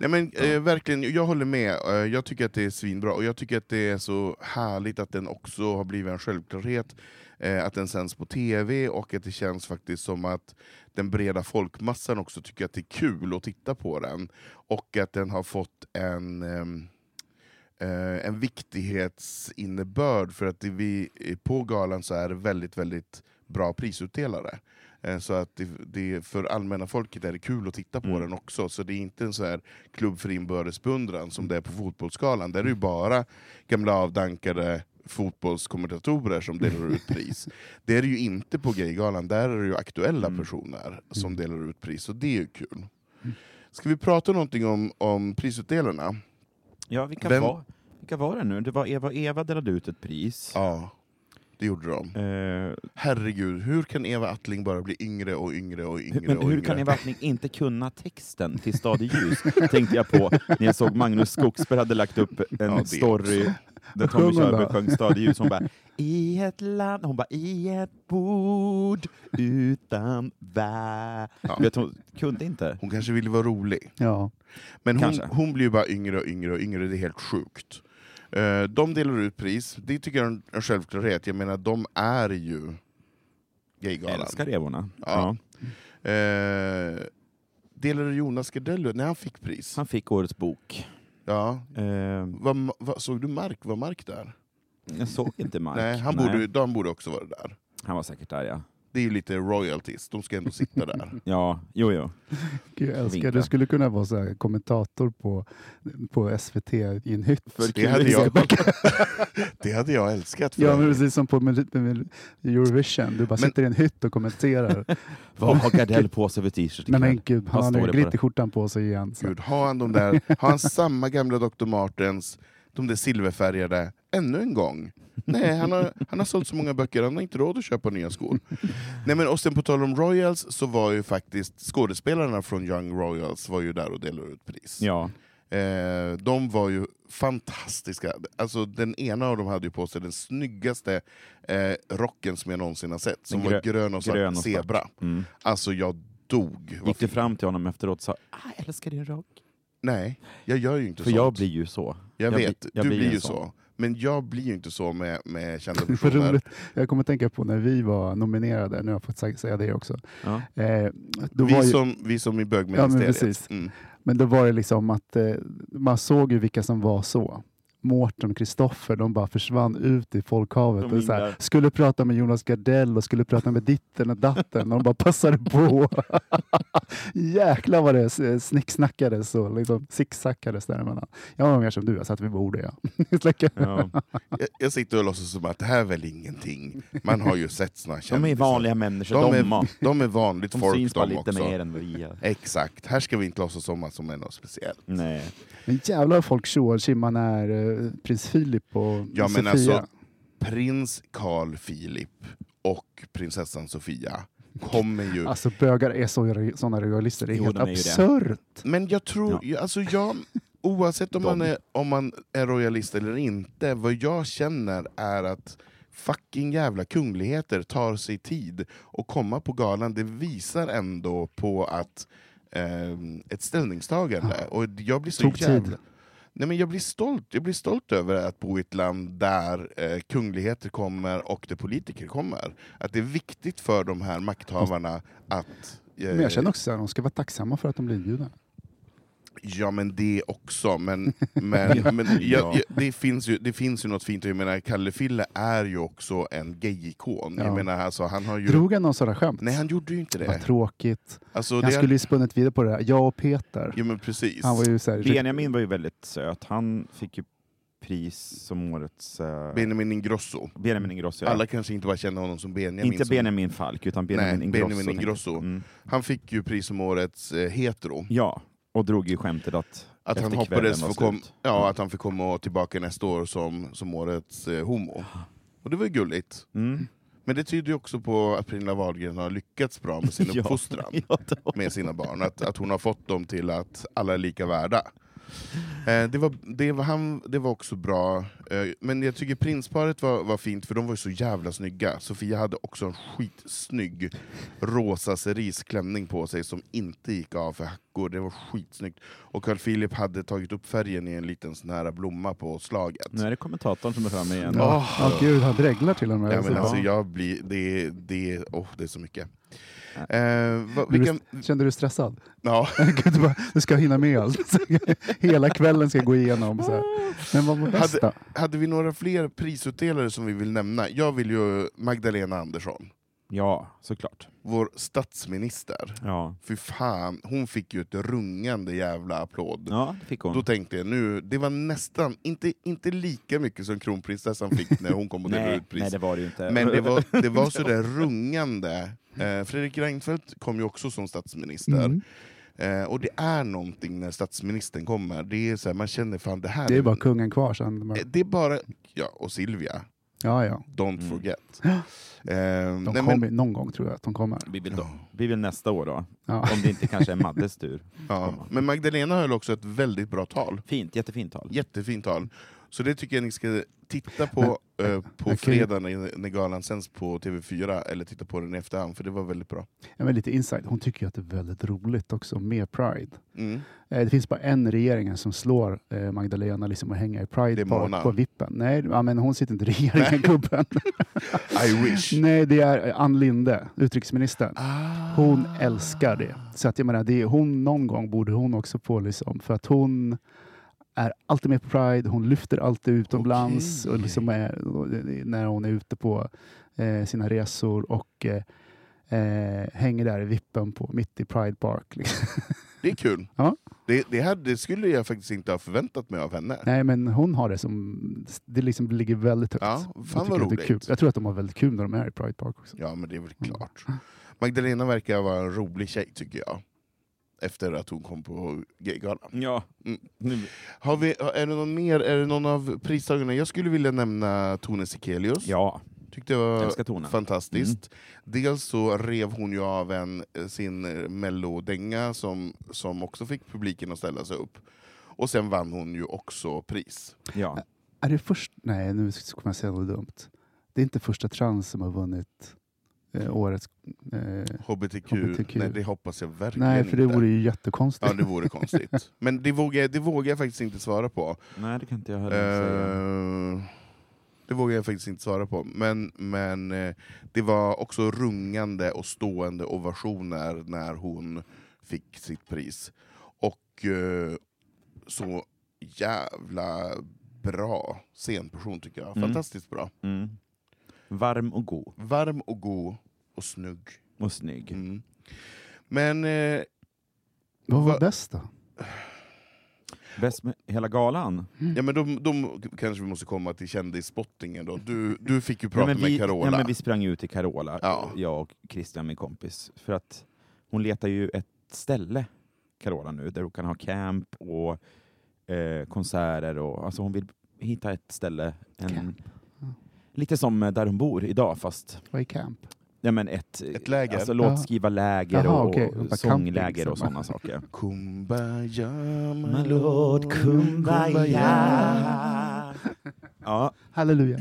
Speaker 1: Nej, men, eh, verkligen, jag håller med. Eh, jag tycker att det är svinbra, och jag tycker att det är så härligt att den också har blivit en självklarhet. Eh, att den sänds på TV, och att det känns faktiskt som att den breda folkmassan också tycker att det är kul att titta på den. Och att den har fått en... ehm, eh, en viktighetsinnebörd för att det vi, eh, på galan så är det väldigt, väldigt bra prisutdelare. Eh, Så att det, det, för allmänna folket är det kul att titta på
Speaker 3: Mm.
Speaker 1: den också, så det är inte en så här klubb för inbördes beundran som det är på fotbollsgalan. Där är det ju bara gamla avdankade fotbollskommentatorer som delar ut pris. Det är det ju inte på Gaygalan, där är det ju aktuella
Speaker 3: Mm.
Speaker 1: personer som delar ut pris, och det är ju kul. Ska vi prata någonting om, om prisutdelarna?
Speaker 3: Ja, vilka,
Speaker 1: Vem-
Speaker 3: var, vilka var det nu? Det var Eva Eva delade ut ett pris.
Speaker 1: Ja, det gjorde de.
Speaker 3: Eh,
Speaker 1: Herregud, hur kan Eva Attling bara bli yngre och yngre och yngre?
Speaker 3: men
Speaker 1: och
Speaker 3: hur
Speaker 1: yngre?
Speaker 3: kan Eva Attling inte kunna texten till Stad i ljus? tänkte jag på när jag såg Magnus Skogsberg hade lagt upp en
Speaker 1: det
Speaker 3: story där
Speaker 2: Sjöng
Speaker 3: Tommy
Speaker 2: hon
Speaker 3: Körberg
Speaker 2: då?
Speaker 3: sjöng Stad i ljus. Hon bara i ett land, hon bara i ett bord utan värld.
Speaker 1: Ja.
Speaker 3: Vet Hon kunde inte.
Speaker 1: Hon kanske ville vara rolig.
Speaker 2: Ja.
Speaker 1: Men hon,
Speaker 3: Kanske.
Speaker 1: hon blir ju bara yngre och yngre och yngre, det är helt sjukt. Eh, De delar ut pris, det tycker jag är en- en självklarhet. Jag menar, de är ju Gaygalan.
Speaker 3: Älskar Evorna. Ja.
Speaker 1: Ja. Eh, delade Jonas Gardell när han fick pris?
Speaker 3: Han fick årets bok.
Speaker 1: Ja.
Speaker 3: Eh,
Speaker 1: Vad- vad- såg du Mark? Var Mark där?
Speaker 3: jag såg inte Mark.
Speaker 1: Nej, han borde, han borde också vara där.
Speaker 3: han var säkert där ja.
Speaker 1: Det är ju lite royalties, de ska ändå sitta där.
Speaker 3: Ja, jo jo.
Speaker 2: Gud, jag älskar.
Speaker 3: Vinkla.
Speaker 2: Du skulle kunna vara så här kommentator på, på SVT i en hytt.
Speaker 3: För
Speaker 1: Det hade jag, det hade jag älskat. För
Speaker 2: Ja, men precis som på Mel- Mel- Eurovision. Du bara
Speaker 1: Men-
Speaker 2: sitter i en hytt och kommenterar.
Speaker 3: Vad har Gardell på sig för t-shirt
Speaker 2: Nej men
Speaker 3: ikväll?
Speaker 2: gud,
Speaker 3: Vad
Speaker 2: han
Speaker 3: står
Speaker 2: har
Speaker 3: det
Speaker 2: ju
Speaker 3: på
Speaker 2: glitterskjortan på sig igen. Så.
Speaker 1: Gud, har han, de där, har han samma gamla Dr. Martens, de där silverfärgade, ännu en gång? Nej, han har, han har sålt så många böcker, han har inte råd att köpa nya skor. Nej, men och sen på tal om Royals, så var ju faktiskt skådespelarna från Young Royals var ju där och delade ut pris.
Speaker 3: Ja.
Speaker 1: Eh, de var ju fantastiska. Alltså, den ena av dem hade ju på sig den snyggaste eh, rocken som jag någonsin har sett, som
Speaker 3: Den
Speaker 1: var
Speaker 3: grö-
Speaker 1: grön och,
Speaker 3: grön och
Speaker 1: svart zebra.
Speaker 3: Mm.
Speaker 1: Alltså jag dog. Vad
Speaker 3: Gick du
Speaker 1: fint.
Speaker 3: fram till honom efteråt och sa ah, jag älskar din rock?
Speaker 1: Nej, jag gör ju inte
Speaker 3: För
Speaker 1: sånt.
Speaker 3: jag blir ju så.
Speaker 1: Jag
Speaker 3: jag
Speaker 1: vet,
Speaker 3: blir- jag
Speaker 1: du
Speaker 3: blir
Speaker 1: blir,
Speaker 3: en
Speaker 1: ju
Speaker 3: sån.
Speaker 1: så. Men jag blir ju inte så med, med kända
Speaker 2: För
Speaker 1: personer.
Speaker 2: roligt. Jag kommer att tänka på när vi var nominerade, nu har jag fått sä- säga det också.
Speaker 3: Ja.
Speaker 2: Eh, då var
Speaker 1: Vi
Speaker 2: ju,
Speaker 1: som, vi som i
Speaker 2: ja, men,
Speaker 1: bögministeriet.
Speaker 2: precis.
Speaker 1: mm.
Speaker 2: men då var det liksom att eh, man såg ju vilka som var så. Mårten och Kristoffer, de bara försvann ut i folkhavet.
Speaker 3: De
Speaker 2: Och så här,
Speaker 3: vinglar.
Speaker 2: skulle prata med Jonas Gardell och skulle prata med ditten och datten. Och de bara passade på. Jäklar vad det eh, snicksnackades och liksom zigzackades däremellan. Jag var mer som du, jag satt vid bordet. Ja. Släcker.
Speaker 3: Ja.
Speaker 1: jag, jag sitter och låtsas som att det här är väl ingenting. Man har ju sett såna
Speaker 3: De är
Speaker 1: kändisar.
Speaker 3: vanliga människor,
Speaker 1: De
Speaker 3: de,
Speaker 1: är, de är vanligt
Speaker 3: de
Speaker 1: folk
Speaker 3: syns bara
Speaker 1: de
Speaker 3: lite
Speaker 1: också.
Speaker 3: mer än vi är.
Speaker 1: Exakt, här ska vi inte låtsas som att som är något speciellt.
Speaker 3: Nej.
Speaker 2: Men jävlar vad folk tjoar och tjimmar när eh, prins Philip och
Speaker 1: Ja, men
Speaker 2: Sofia...
Speaker 1: alltså, Prins Carl Philip och prinsessan Sofia kommer ju...
Speaker 2: Alltså bögar är så, sådana royalister, det är
Speaker 3: Jo,
Speaker 2: helt
Speaker 3: de är ju det.
Speaker 2: absurt.
Speaker 1: Men jag tror, ja. alltså jag, oavsett om
Speaker 3: De.
Speaker 1: man, är, om man är royalist eller inte, vad jag känner är att fucking jävla kungligheter tar sig tid och komma på galan. Det visar ändå på att ehm, ett ställningstagande. Och jag blir så
Speaker 2: Ah. Tog tid.
Speaker 1: jävla... Nej, men jag blir stolt. Jag blir stolt över att bo i ett land där eh, kungligheter kommer och där politiker kommer. Att det är viktigt för de här makthavarna att... eh,
Speaker 2: Men jag känner också att de ska vara tacksamma för att de blir inbjudna.
Speaker 1: Ja men det också, men, men, men jag,
Speaker 3: Ja.
Speaker 1: jag, det, finns ju, det finns ju något fint. Jag menar, Kalle Fille är ju också en gay-ikon.
Speaker 2: Ja.
Speaker 1: Jag menar, alltså, han har ju...
Speaker 2: Drog han någon sådana skämt?
Speaker 1: Nej, han gjorde ju inte
Speaker 2: Vad
Speaker 1: det.
Speaker 2: tråkigt.
Speaker 1: Alltså,
Speaker 2: han
Speaker 1: det
Speaker 2: skulle ju spunnit vidare på det där. Jag och Peter.
Speaker 1: Ja men precis.
Speaker 2: Han var ju så här,
Speaker 3: Benjamin var ju väldigt söt, han fick ju pris som årets... eh,
Speaker 1: Benjamin Ingrosso.
Speaker 3: Benjamin Ingrosso. ja.
Speaker 1: Alla kanske inte bara känner honom som Benjamin.
Speaker 3: Inte
Speaker 1: som...
Speaker 3: Benjamin Falk, utan Benjamin
Speaker 1: Nej,
Speaker 3: Ingrosso.
Speaker 1: Benjamin
Speaker 3: tänkte jag.
Speaker 1: Ingrosso.
Speaker 3: Mm.
Speaker 1: Han fick ju pris som årets eh, hetero.
Speaker 3: Ja, och drog ju skämtet att,
Speaker 1: Att han
Speaker 3: efter
Speaker 1: hoppades
Speaker 3: kvällen
Speaker 1: få
Speaker 3: var
Speaker 1: kom...
Speaker 3: slut. Mm.
Speaker 1: ja, att han fick komma tillbaka nästa år som, som årets eh, homo. Och det var ju gulligt.
Speaker 3: Mm.
Speaker 1: Men det tyder ju också på att Pernilla Wahlgren har lyckats bra med sin
Speaker 3: Ja.
Speaker 1: uppfostran.
Speaker 3: Ja, det var-
Speaker 1: med sina barn. Att, att hon har fått dem till att alla är lika värda. Eh, det, var, det, var han, det var också bra. Eh, men jag tycker prinsparet var, var fint, för de var ju så jävla snygga. Sofia hade också en skitsnygg rosa cerisklänning på sig som inte gick av för hackor. Det var skitsnyggt. Och Carl Philip hade tagit upp färgen i en liten sån här blomma på slaget.
Speaker 3: Nu är det kommentatorn som är framme igen.
Speaker 2: Ja, ja, gud, han dreglar till och med.
Speaker 1: Ja, men
Speaker 2: Alltså,
Speaker 1: alltså,
Speaker 2: ja.
Speaker 1: jag blir, det, det, oh, det är så mycket. Eh, vad-
Speaker 2: Blev
Speaker 1: vilka,
Speaker 2: du, kände du dig stressad?
Speaker 1: ja.
Speaker 2: Gud, du, bara, du ska hinna med allt. Hela kvällen ska gå igenom. Så här. Men vad var bäst då?
Speaker 1: Hade, hade vi några fler prisutdelare som vi vill nämna? Jag vill ju Magdalena Andersson,
Speaker 3: Ja, såklart.
Speaker 1: vår statsminister.
Speaker 3: Ja,
Speaker 1: Fy fan, hon fick ju ett rungande jävla applåd.
Speaker 3: ja det fick hon.
Speaker 1: Då tänkte jag nu, det var nästan, inte, inte lika mycket som kronprinsessan fick när hon kom och delade
Speaker 3: nej,
Speaker 1: ut
Speaker 3: nej,
Speaker 1: pris.
Speaker 3: det var det ju inte.
Speaker 1: Men det var, det var sådär rungande. Eh, Fredrik Reinfeldt kom ju också som statsminister.
Speaker 2: Mm.
Speaker 3: Mm.
Speaker 1: Eh, och det är någonting när statsministern kommer. Det är så här, man känner fan det här
Speaker 2: Det är bara kungen kvar sen.
Speaker 1: Eh, Det är bara, ja, och Silvia.
Speaker 2: Ja, ja.
Speaker 1: Don't
Speaker 3: Mm.
Speaker 1: forget.
Speaker 2: Ja.
Speaker 1: Ehm,
Speaker 2: De
Speaker 1: nej,
Speaker 2: kommer
Speaker 1: men,
Speaker 2: någon gång tror jag att de kommer.
Speaker 3: Vi vill,
Speaker 1: Ja.
Speaker 3: då, vi vill nästa år då,
Speaker 2: Ja.
Speaker 3: om det inte kanske är Maddes tur.
Speaker 1: ja.
Speaker 3: komma.
Speaker 1: men Magdalena höll också ett väldigt bra tal.
Speaker 3: Fint, jättefint tal.
Speaker 1: Jättefint tal. Så det tycker jag ni ska titta på eh, på
Speaker 2: okej.
Speaker 1: fredag när, när galan sänds på TV4, eller titta på den i efterhand, för det var väldigt bra.
Speaker 2: Ja, men lite insight. Hon tycker ju att det är väldigt roligt också med Pride.
Speaker 1: Mm.
Speaker 2: Eh, Det finns bara en i regeringen som slår eh, Magdalena liksom att hänga i
Speaker 1: Det är
Speaker 2: Pride
Speaker 1: Mona.
Speaker 2: Park på vippen. Nej, ja, men hon sitter inte i regeringen, gubben.
Speaker 1: I wish!
Speaker 2: Nej, det är eh, Ann Linde, utrikesministern.
Speaker 1: Ah.
Speaker 2: Hon älskar det. Så att jag menar, det är hon, någon gång borde hon också få liksom, för att hon är alltid med på Pride, hon lyfter alltid utomlands och liksom är, och det- när hon är ute på eh, sina resor och eh, eh, hänger där i vippen på, mitt i Pride Park. Liksom.
Speaker 1: Det är kul.
Speaker 2: Ja.
Speaker 1: Det, det, här, det skulle jag faktiskt inte ha förväntat mig av henne.
Speaker 2: Nej, men hon har det som... Det liksom ligger väldigt högt.
Speaker 1: Ja,
Speaker 2: Jag
Speaker 1: fan
Speaker 2: tycker
Speaker 1: vad
Speaker 2: att det är
Speaker 1: roligt.
Speaker 2: kul. Jag tror att de har väldigt kul när de är i Pride Park också.
Speaker 1: Ja, men det är väl
Speaker 2: Mm.
Speaker 1: klart. Magdalena verkar vara en rolig tjej, tycker jag. Efter att hon kom på gaygalan.
Speaker 3: Ja,
Speaker 1: Mm.
Speaker 3: nu,
Speaker 1: Har vi, är det någon mer? Är det någon av pristagarna? Jag skulle vilja nämna Tone Sekelius.
Speaker 3: ja
Speaker 1: Tyckte det var
Speaker 3: älskar tonen.
Speaker 1: fantastiskt. Dels så rev hon ju av eh, en, sin mellodänga som, som också fick publiken att ställa sig upp. Och sen vann hon ju också pris.
Speaker 3: Ja.
Speaker 2: Är det först... Nej, nu s- kommer jag säga något dumt. Det är inte första trans som har vunnit eh, årets... Eh,
Speaker 1: HBTQ,
Speaker 2: HBTQ.
Speaker 1: Nej, det hoppas jag verkligen
Speaker 2: nej, för det
Speaker 1: inte.
Speaker 2: vore ju jättekonstigt.
Speaker 1: Ja, det vore konstigt. Men det vågar, jag- det vågar jag faktiskt inte svara på.
Speaker 3: Nej, det kan inte jag heller säga.
Speaker 1: Eh, det vågar jag faktiskt inte svara på. Men, men eh, det var också rungande och stående ovationer när hon fick sitt pris. Och eh, så jävla bra scenperson tycker jag.
Speaker 3: Mm.
Speaker 1: Fantastiskt bra.
Speaker 3: Mm. Varm och god.
Speaker 1: Varm och god och snygg.
Speaker 3: Och snygg.
Speaker 1: Mm. Men eh,
Speaker 2: Vad var
Speaker 1: Va-
Speaker 2: bäst då?
Speaker 3: Bäst med hela galan.
Speaker 1: Ja, men de, de kanske vi måste komma till kändisspottingen då. Du, du fick ju
Speaker 3: Ja,
Speaker 1: prata
Speaker 3: men vi,
Speaker 1: med Carola.
Speaker 3: Ja, men vi sprang ut till Carola,
Speaker 1: Ja.
Speaker 3: jag och Christian, min kompis. För att hon letar ju ett ställe, Carola nu, där hon kan ha camp och eh, konserter. Och, alltså hon vill hitta ett ställe, en,
Speaker 2: Camp. Ja.
Speaker 3: lite som eh, där hon bor idag fast
Speaker 2: Vad är camp?
Speaker 3: ja, men ett,
Speaker 1: Ett läger.
Speaker 3: Alltså,
Speaker 2: Jaha.
Speaker 3: låtskrivarläger
Speaker 2: Jaha,
Speaker 3: och,
Speaker 2: okej. Jag bara,
Speaker 3: och
Speaker 2: camping,
Speaker 3: sångläger och
Speaker 2: liksom.
Speaker 3: sådana saker.
Speaker 1: Kumbaya, my
Speaker 3: My lord,
Speaker 1: lord,
Speaker 3: kumbaya. Ja,
Speaker 2: Halleluja.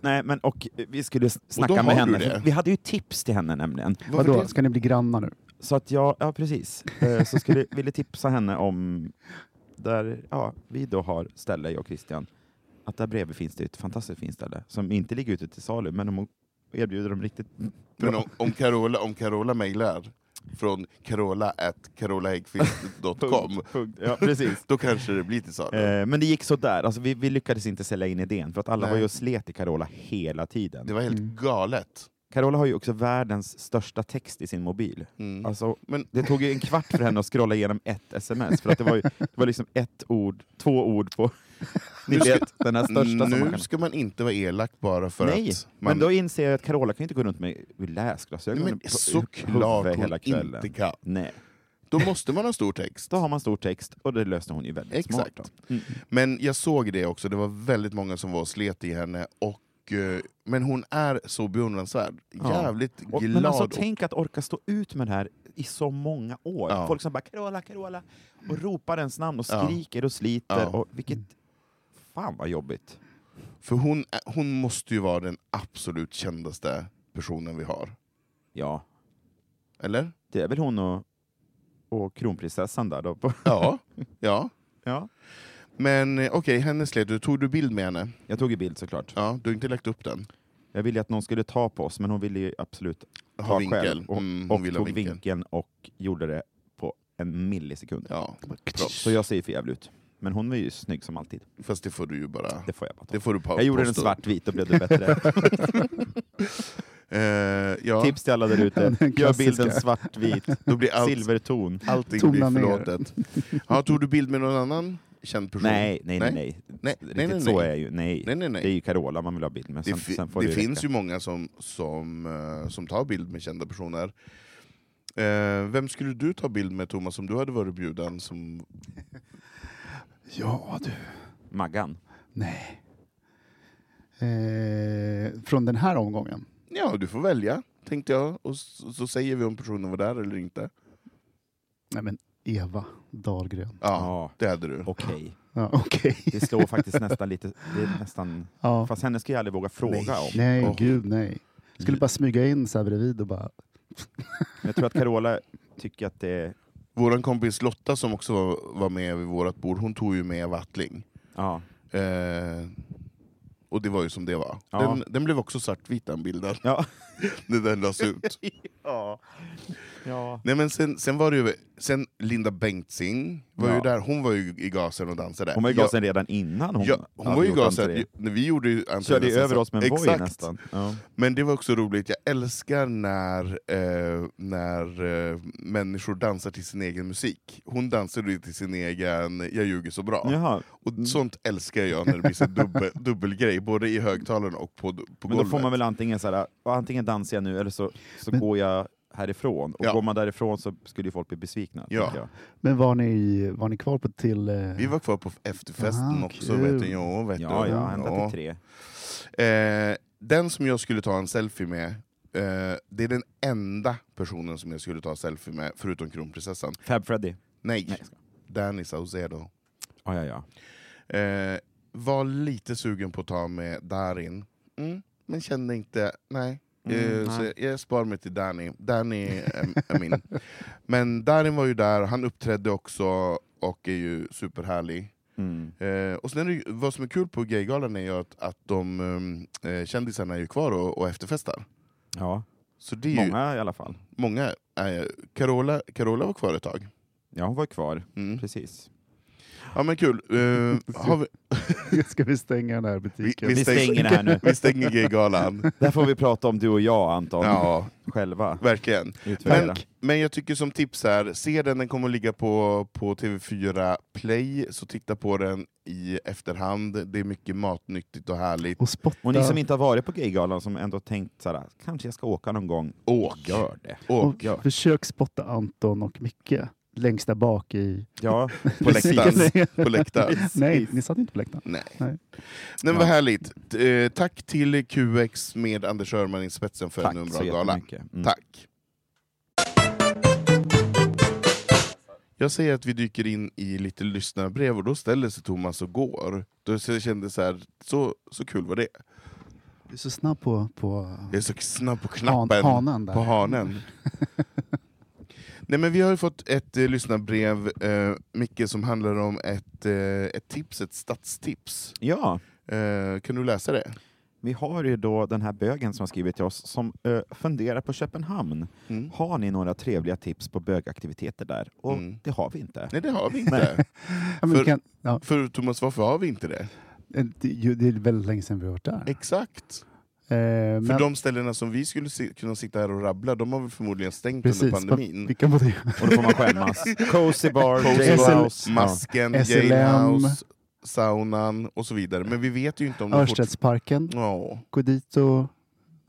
Speaker 3: Nej, men och eh, vi skulle s-
Speaker 1: då
Speaker 3: snacka
Speaker 1: har
Speaker 3: med
Speaker 1: du
Speaker 3: henne.
Speaker 1: det.
Speaker 3: Vi hade ju tips till henne nämligen.
Speaker 1: Varför
Speaker 2: Vadå,
Speaker 1: det?
Speaker 2: ska ni bli grannar nu?
Speaker 3: Så att jag, ja precis, Eh, så skulle, ville tipsa henne om där ja, vi då har ställe, jag och Christian, att där bredvid finns det ett fantastiskt fint ställe som inte ligger ute till salu, men de erbjuder dem riktigt
Speaker 1: Men om, om Carola, om Carola mejlar från carola at carolahäggkvist.com
Speaker 3: punkt. Ja, precis.
Speaker 1: då kanske det blir till salu.
Speaker 3: Eh, men det gick så där. Alltså, vi, vi lyckades inte sälja in idén, för att alla
Speaker 1: Nej.
Speaker 3: var ju och slet i Carola hela tiden.
Speaker 1: Det var helt
Speaker 2: Mm.
Speaker 1: galet.
Speaker 3: Carola har ju också världens största text i sin mobil.
Speaker 1: Mm.
Speaker 3: Alltså,
Speaker 1: Men-
Speaker 3: Det tog ju en kvart för henne att scrolla igenom ett sms, för att det var, ju, det var liksom ett ord, två ord på ni
Speaker 1: Nu ska-
Speaker 3: vet, den här största som man
Speaker 1: nu
Speaker 3: kan...
Speaker 1: ska man inte vara elak bara för
Speaker 3: Nej,
Speaker 1: att... Man,
Speaker 3: men då inser jag att Carola kan ju inte gå runt med med läsglasögonen
Speaker 1: men
Speaker 3: på
Speaker 1: såklart
Speaker 3: huvudet
Speaker 1: hon
Speaker 3: hela kvällen.
Speaker 1: inte kan.
Speaker 3: Nej.
Speaker 1: Då måste man ha stor text.
Speaker 3: Då har man stor text, och det löste hon ju väldigt
Speaker 1: Exakt.
Speaker 3: smart. då. Mm.
Speaker 1: Men jag såg det också, det var väldigt många som var och slet i henne. Och, eh, men hon är så beundransvärd.
Speaker 3: Ja.
Speaker 1: Jävligt
Speaker 3: Och,
Speaker 1: glad.
Speaker 3: men alltså,
Speaker 1: och-
Speaker 3: tänk att orka stå ut med det här i så många år.
Speaker 1: Ja.
Speaker 3: Folk som bara Carola, Carola, och ropar ens namn och
Speaker 1: Ja.
Speaker 3: skriker och sliter.
Speaker 1: Ja.
Speaker 3: Och, vilket... Fan vad jobbigt.
Speaker 1: För hon, är- hon måste ju vara den absolut kändaste personen vi har.
Speaker 3: Ja,
Speaker 1: Eller?
Speaker 3: det är väl hon och, och kronprinsessan där då. På,
Speaker 1: Ja. ja.
Speaker 3: ja.
Speaker 1: Men eh, okej, henne slet du. Tog du bild med henne?
Speaker 3: Jag tog ju bild såklart.
Speaker 1: Ja, du har inte lagt upp den?
Speaker 3: Jag ville att någon skulle ta på oss, men hon ville ju absolut ta
Speaker 1: Ha vinkel.
Speaker 3: själv. Och,
Speaker 1: Mm, hon
Speaker 3: och
Speaker 1: vill ha
Speaker 3: tog
Speaker 1: vinkel.
Speaker 3: vinkeln och gjorde det på en millisekund.
Speaker 1: Ja,
Speaker 3: Så jag ser för jävligt ut. Men hon är ju snygg som alltid.
Speaker 1: fast det får du ju bara...
Speaker 3: Det får jag bara ta.
Speaker 1: Det får du pa-
Speaker 3: Jag gjorde den
Speaker 1: påstå.
Speaker 3: svartvit, då blev det bättre.
Speaker 1: Eh, ja,
Speaker 3: Tips till alla där ute,
Speaker 2: Den
Speaker 3: gör
Speaker 2: klassiska.
Speaker 3: bilden svartvit,
Speaker 1: då blir allt,
Speaker 3: silverton.
Speaker 1: allting
Speaker 2: Tona
Speaker 1: blir
Speaker 2: ner.
Speaker 1: förlåtet. Ja, tog du bild med någon annan känd person?
Speaker 3: Nej, nej, nej. nej.
Speaker 1: Nej,
Speaker 3: Riktigt
Speaker 1: nej, nej,
Speaker 3: så
Speaker 1: nej.
Speaker 3: är jag ju. Nej.
Speaker 1: Nej, nej, nej.
Speaker 3: Det är ju Carola man vill ha bild med.
Speaker 1: Det,
Speaker 3: Sen,
Speaker 1: fi-
Speaker 3: sen får
Speaker 1: det
Speaker 3: ju
Speaker 1: finns
Speaker 3: räcka.
Speaker 1: ju många som, som, eh, som tar bild med kända personer. Eh, vem skulle du ta bild med Thomas om du hade varit bjuden? Som...
Speaker 2: Ja, du.
Speaker 3: Maggan.
Speaker 2: Nej. Eh, från den här omgången?
Speaker 1: Ja, du får välja, tänkte jag. Och så, så säger vi om personen var där eller inte.
Speaker 2: Nej, men Eva Dahlgren.
Speaker 1: Ja,
Speaker 3: Ja.
Speaker 1: det hade du.
Speaker 3: Okej.
Speaker 2: Ja, Okej.
Speaker 3: Det slår faktiskt nästan lite... Det är nästan...
Speaker 2: Ja.
Speaker 3: Fast henne ska jag aldrig våga fråga om.
Speaker 2: Nej,
Speaker 1: Åh.
Speaker 2: gud nej. Skulle bara smyga in så här bredvid och bara...
Speaker 3: Men jag tror att Carola tycker att det...
Speaker 1: Vår kompis Lotta som också var, var med vid vårt bord, hon tog ju med Wattling.
Speaker 3: Ja.
Speaker 1: Eh, och det var ju som det var.
Speaker 3: Ja.
Speaker 1: Den, den blev också svartvit den bilden,
Speaker 3: Ja.
Speaker 1: när den lades ut.
Speaker 3: ja. ja.
Speaker 1: Nej, men sen, sen var det ju sen Linda Bengtzing var ju
Speaker 3: Ja.
Speaker 1: där, hon var ju i gasen och dansade.
Speaker 3: Hon var ju
Speaker 1: Jag-
Speaker 3: gasen redan innan hon
Speaker 1: Ja, hon
Speaker 3: hade
Speaker 1: var ju
Speaker 3: gjort
Speaker 1: gasen.
Speaker 3: entré.
Speaker 1: När vi gjorde ju entré
Speaker 3: Körde ju
Speaker 1: nästan
Speaker 3: över
Speaker 1: så-
Speaker 3: oss med en boj
Speaker 1: Exakt.
Speaker 3: nästan. Ja.
Speaker 1: Men det var också roligt, jag älskar när, eh, när eh, människor dansar till sin egen musik. Hon dansade ju till sin egen Jag ljuger så bra.
Speaker 3: Jaha.
Speaker 1: Och sånt älskar jag när det blir så dubbel, dubbelgrej, både i högtalarna och på, på
Speaker 3: Men då får
Speaker 1: golvet.
Speaker 3: man väl antingen så här, "Ja, antingen dansar jag nu eller så, så går jag härifrån. Och
Speaker 1: Ja.
Speaker 3: går man därifrån så skulle ju folk bli besvikna.
Speaker 1: Ja.
Speaker 3: tänker Jag.
Speaker 2: Men var ni, var ni kvar på till... eh,
Speaker 1: Vi var kvar på efterfesten
Speaker 2: Ah,
Speaker 1: också,
Speaker 2: kul.
Speaker 1: vet du. Ja, vet
Speaker 3: Ja,
Speaker 1: du.
Speaker 3: ja, ända
Speaker 1: Ja.
Speaker 3: till tre.
Speaker 1: Eh, den som jag skulle ta en selfie med, eh, det är den enda personen som jag skulle ta selfie med, förutom kronprinsessan.
Speaker 3: Fab Freddy.
Speaker 1: Nej,
Speaker 3: Nej, jag skojar.
Speaker 1: Danny Saucedo.
Speaker 3: Ja, ja, ja.
Speaker 1: Eh, var lite sugen på att ta med Darin, mm, men kände inte, nej.
Speaker 3: Mm,
Speaker 1: eh,
Speaker 3: nej.
Speaker 1: så jag sparar mig till Danny. Danny är, är min. Men Darin var ju där, han uppträdde också och är ju superhärlig.
Speaker 3: Mm.
Speaker 1: Eh, och sen är det, ju- vad som är kul på Gaygalan är ju att, att de um, eh, kändisarna är ju kvar och, och efterfestar.
Speaker 3: ja.
Speaker 1: Så det är ju,
Speaker 3: Många i alla fall.
Speaker 1: många eh, Carola, Carola var kvar ett tag.
Speaker 3: Ja, hon var kvar.
Speaker 1: Mm.
Speaker 3: Precis.
Speaker 1: Ja men kul. Eh, har vi,
Speaker 2: Ska vi stänga den här
Speaker 1: vi,
Speaker 2: butiken?
Speaker 1: vi,
Speaker 3: Vi stänger det
Speaker 1: stänger,
Speaker 3: här nu.
Speaker 1: vi stänger Gaygalan.
Speaker 3: Där får vi prata om du och jag, Anton.
Speaker 1: Ja,
Speaker 3: Själva.
Speaker 1: verkligen.
Speaker 3: Utvärdera.
Speaker 1: Men, men jag tycker som tips här, se den, den kommer att ligga på, på TV4 Play, så titta på den i efterhand. Det är mycket matnyttigt och härligt.
Speaker 2: Och spotta.
Speaker 3: Och ni som inte har varit på Gaygalan som ändå tänkt såhär, kanske jag ska åka någon gång.
Speaker 1: Åk!
Speaker 3: Gör det.
Speaker 1: Åk!
Speaker 2: och försök spotta Anton och Micke längst där bak i...
Speaker 3: Ja,
Speaker 1: På läktaren.
Speaker 2: Nej.
Speaker 1: På läktaren.
Speaker 2: Nej, ni satt inte på läktaren.
Speaker 1: Nej.
Speaker 2: Nej.
Speaker 1: Nej, vad härligt. Eh, tack till QX med Anders Öhrman i spetsen för
Speaker 3: Tack
Speaker 1: en
Speaker 3: så
Speaker 1: bra gala.
Speaker 3: jättemycket. Mm.
Speaker 1: Tack. Jag säger att vi dyker in i lite lyssnarbrev och då ställer sig Thomas och går. Då så jag kände så här, så, så kul var det.
Speaker 2: Du är så snabb på, på
Speaker 1: Jag är så snabb på
Speaker 2: han,
Speaker 1: knappen.
Speaker 2: hanen där.
Speaker 1: På hanen. Nej, men vi har ju fått ett eh, lyssnarbrev, eh, Micke, som handlar om ett, eh, ett tips, ett stadstips.
Speaker 3: Ja,
Speaker 1: Eh, kan du läsa det?
Speaker 3: vi har ju då den här bögen som har skrivit till oss som eh, funderar på Köpenhamn.
Speaker 1: Mm.
Speaker 3: Har ni några trevliga tips på bögaktiviteter där? Och
Speaker 1: Mm.
Speaker 3: det har vi inte.
Speaker 1: Nej, det har vi inte.
Speaker 2: Ja, men vi
Speaker 1: för-
Speaker 2: kan, ja, eh,
Speaker 1: För Thomas, varför har vi inte det?
Speaker 2: det, ju- det är väldigt länge sedan vi har varit där.
Speaker 1: Exakt.
Speaker 2: Eh,
Speaker 1: För
Speaker 2: men,
Speaker 1: de ställena som vi skulle si- kunna sitta här och rabbla, de har väl förmodligen stängt
Speaker 2: precis,
Speaker 1: under pandemin.
Speaker 2: vilka var det?
Speaker 3: Och då får man skämmas. Cozy bar,
Speaker 1: Cozy
Speaker 3: Jail
Speaker 2: Bar,
Speaker 3: House. Ja.
Speaker 1: Masken,
Speaker 2: SLM.
Speaker 1: Jailhouse, saunan och så vidare. Men vi vet ju inte om de fortfarande...
Speaker 2: Örstedsparken.
Speaker 1: Ja.
Speaker 2: Gå dit och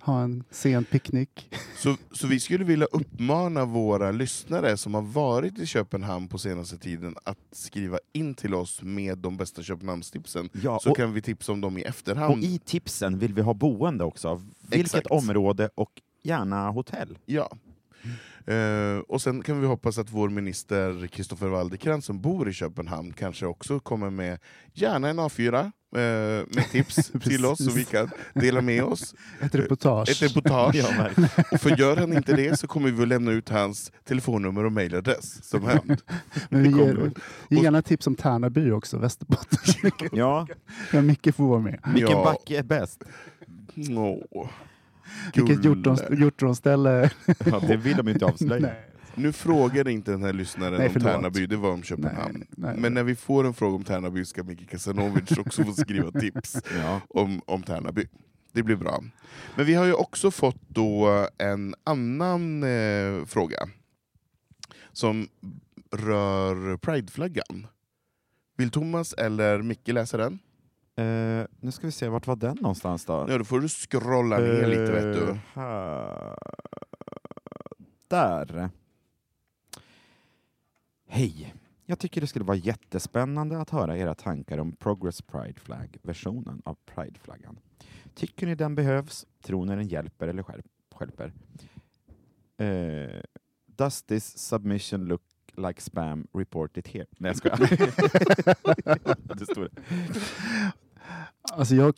Speaker 2: ha en sen picknick.
Speaker 1: Så, så vi skulle vilja uppmana våra lyssnare som har varit i Köpenhamn på senaste tiden att skriva in till oss med de bästa Köpenhamnstipsen.
Speaker 3: Ja,
Speaker 1: Så
Speaker 3: och-
Speaker 1: kan vi tipsa om dem i
Speaker 3: Och
Speaker 1: efterhand.
Speaker 3: i tipsen vill vi ha boende också. Vilket
Speaker 1: Exakt.
Speaker 3: område och gärna hotell.
Speaker 1: Ja. Eh, och sen kan vi hoppas att vår minister Kristoffer Waldekrans som bor i Köpenhamn kanske också kommer med gärna en A4 eh, med tips till oss så vi kan dela med oss.
Speaker 2: Ett reportage.
Speaker 1: Ett reportage. och för gör han inte det så kommer vi att lämna ut hans telefonnummer och mejladress som hämnd.
Speaker 2: Men vi
Speaker 1: Det kommer
Speaker 2: ger,
Speaker 1: vi.
Speaker 2: ge gärna tips om Tärnaby också, Västerbotten.
Speaker 3: Ja,
Speaker 2: ja, Micke får vara med.
Speaker 3: vilken
Speaker 1: Ja.
Speaker 3: backe är bäst?
Speaker 1: Åh.
Speaker 2: Vilket hjortron,
Speaker 1: Gulle.
Speaker 2: hjortronställe.
Speaker 3: Ja, det vill de ju inte avslöja.
Speaker 2: Nej.
Speaker 1: Nu frågade inte den här lyssnaren
Speaker 2: Nej,
Speaker 1: om
Speaker 2: förlåt.
Speaker 1: Tärnaby, det var om Köpenhamn.
Speaker 2: Nej, nej.
Speaker 1: Men när vi får en fråga om Tärnaby ska Micke Kasanovic också få skriva tips
Speaker 3: Ja.
Speaker 1: om, om Tärnaby. Det blir bra. Men vi har ju också fått då en annan eh, fråga som rör prideflaggan. Vill Thomas eller Micke läsa den?
Speaker 3: Eh, nu ska vi se, vart var den någonstans då?
Speaker 1: Ja, då får du scrolla ner lite vet
Speaker 3: Eh,
Speaker 1: du.
Speaker 3: här. Där. Hej. Jag tycker det skulle vara jättespännande att höra era tankar om Progress Pride Flag-versionen av Pride-flaggan. Tycker ni den behövs? Tror ni den hjälper eller skärp, skälper? Eh, does this submission look like spam? Report it here. Nej, jag skojar. det står
Speaker 2: Alltså jag,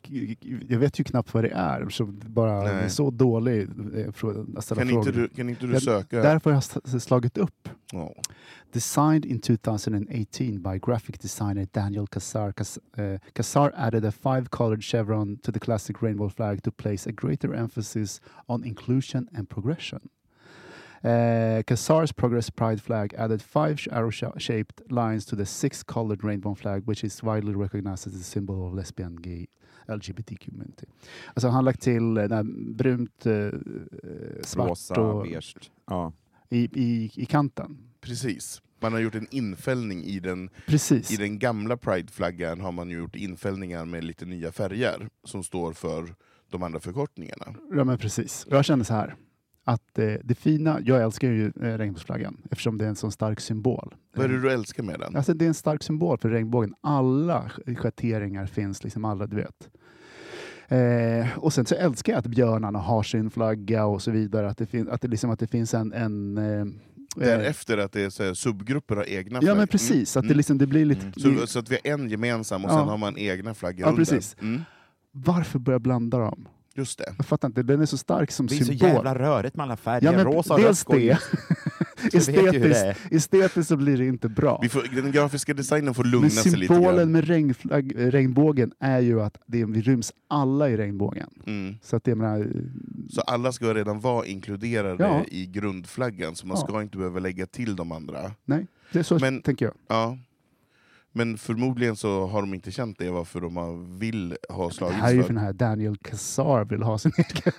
Speaker 2: jag vet ju knappt vad det är, så bara
Speaker 1: Nej.
Speaker 2: det är så dålig eh, frå- att ställa
Speaker 1: Kan
Speaker 2: frågor.
Speaker 1: inte du, kan inte du
Speaker 2: Jag-
Speaker 1: söka?
Speaker 2: Därför har jag s- slagit upp
Speaker 1: Ja.
Speaker 2: Designed in 2018 by graphic designer Daniel Kassar. Kass- uh, Kassar added a five colored chevron to the classic rainbow flag to place a greater emphasis on inclusion and progression. Uh, Kassar's Progress Pride flag added five arrow shaped lines to the six colored rainbow flag, which is widely recognized as a symbol of lesbian, gay, LGBT community. Alltså han har lagt till eh, den brunt, eh, eh, svart
Speaker 3: rosa,
Speaker 2: och
Speaker 3: beige. Ja.
Speaker 2: i, i, i kanten.
Speaker 1: Precis. Man har gjort en infällning i den
Speaker 2: Precis.
Speaker 1: I den gamla prideflaggan har man ju gjort infällningar med lite nya färger som står för de andra förkortningarna.
Speaker 2: Ja, men precis. Jag känner så här. Att eh, det fina, jag älskar ju eh, regnbågsflaggan eftersom det är en sån stark symbol.
Speaker 1: Vad är det du älskar med den?
Speaker 2: Alltså det är en stark symbol för regnbågen. Alla sch- schatteringar finns, liksom alla du vet. Eh, och sen så älskar jag att björnarna har sin flagga och så vidare. Att det, fin- att det, liksom, att det finns en, en, eh,
Speaker 1: Därefter att det är så här, subgrupper har egna
Speaker 2: Ja
Speaker 1: flaggor.
Speaker 2: men precis, att det,
Speaker 1: Mm.
Speaker 2: liksom, det blir lite...
Speaker 1: Mm. Så,
Speaker 2: det,
Speaker 1: så att vi har en gemensam och
Speaker 2: Ja.
Speaker 1: sen har man egna flaggor
Speaker 2: Ja,
Speaker 1: under.
Speaker 2: precis.
Speaker 1: Mm.
Speaker 2: varför börja blanda dem?
Speaker 1: Just det.
Speaker 2: Jag fattar inte, den är så stark som
Speaker 3: Det är så
Speaker 2: symbol.
Speaker 3: jävla rörigt med alla färger.
Speaker 2: Ja, men
Speaker 3: Rosa,
Speaker 2: dels
Speaker 3: rött,
Speaker 2: det.
Speaker 3: Så vi vet ju hur det är.
Speaker 2: estetiskt, estetiskt så blir det inte bra.
Speaker 1: Vi får, den grafiska designen får lugna
Speaker 2: Men
Speaker 1: sig lite grann.
Speaker 2: symbolen med regnflagg, eh, regnbågen är ju att det, vi ryms alla i regnbågen.
Speaker 1: Mm.
Speaker 2: Så att det jag menar, eh,
Speaker 1: Så alla ska redan vara inkluderade
Speaker 2: Ja.
Speaker 1: i grundflaggan, så man
Speaker 2: Ja.
Speaker 1: ska inte behöva lägga till de andra.
Speaker 2: nej, det är så
Speaker 1: Men-
Speaker 2: tänker jag.
Speaker 1: Ja. Men förmodligen så har de inte känt det, varför de har- vill ha
Speaker 2: Det
Speaker 1: slagits
Speaker 2: här är ju för
Speaker 1: för.
Speaker 2: den här Daniel Kassar vill ha sin egen.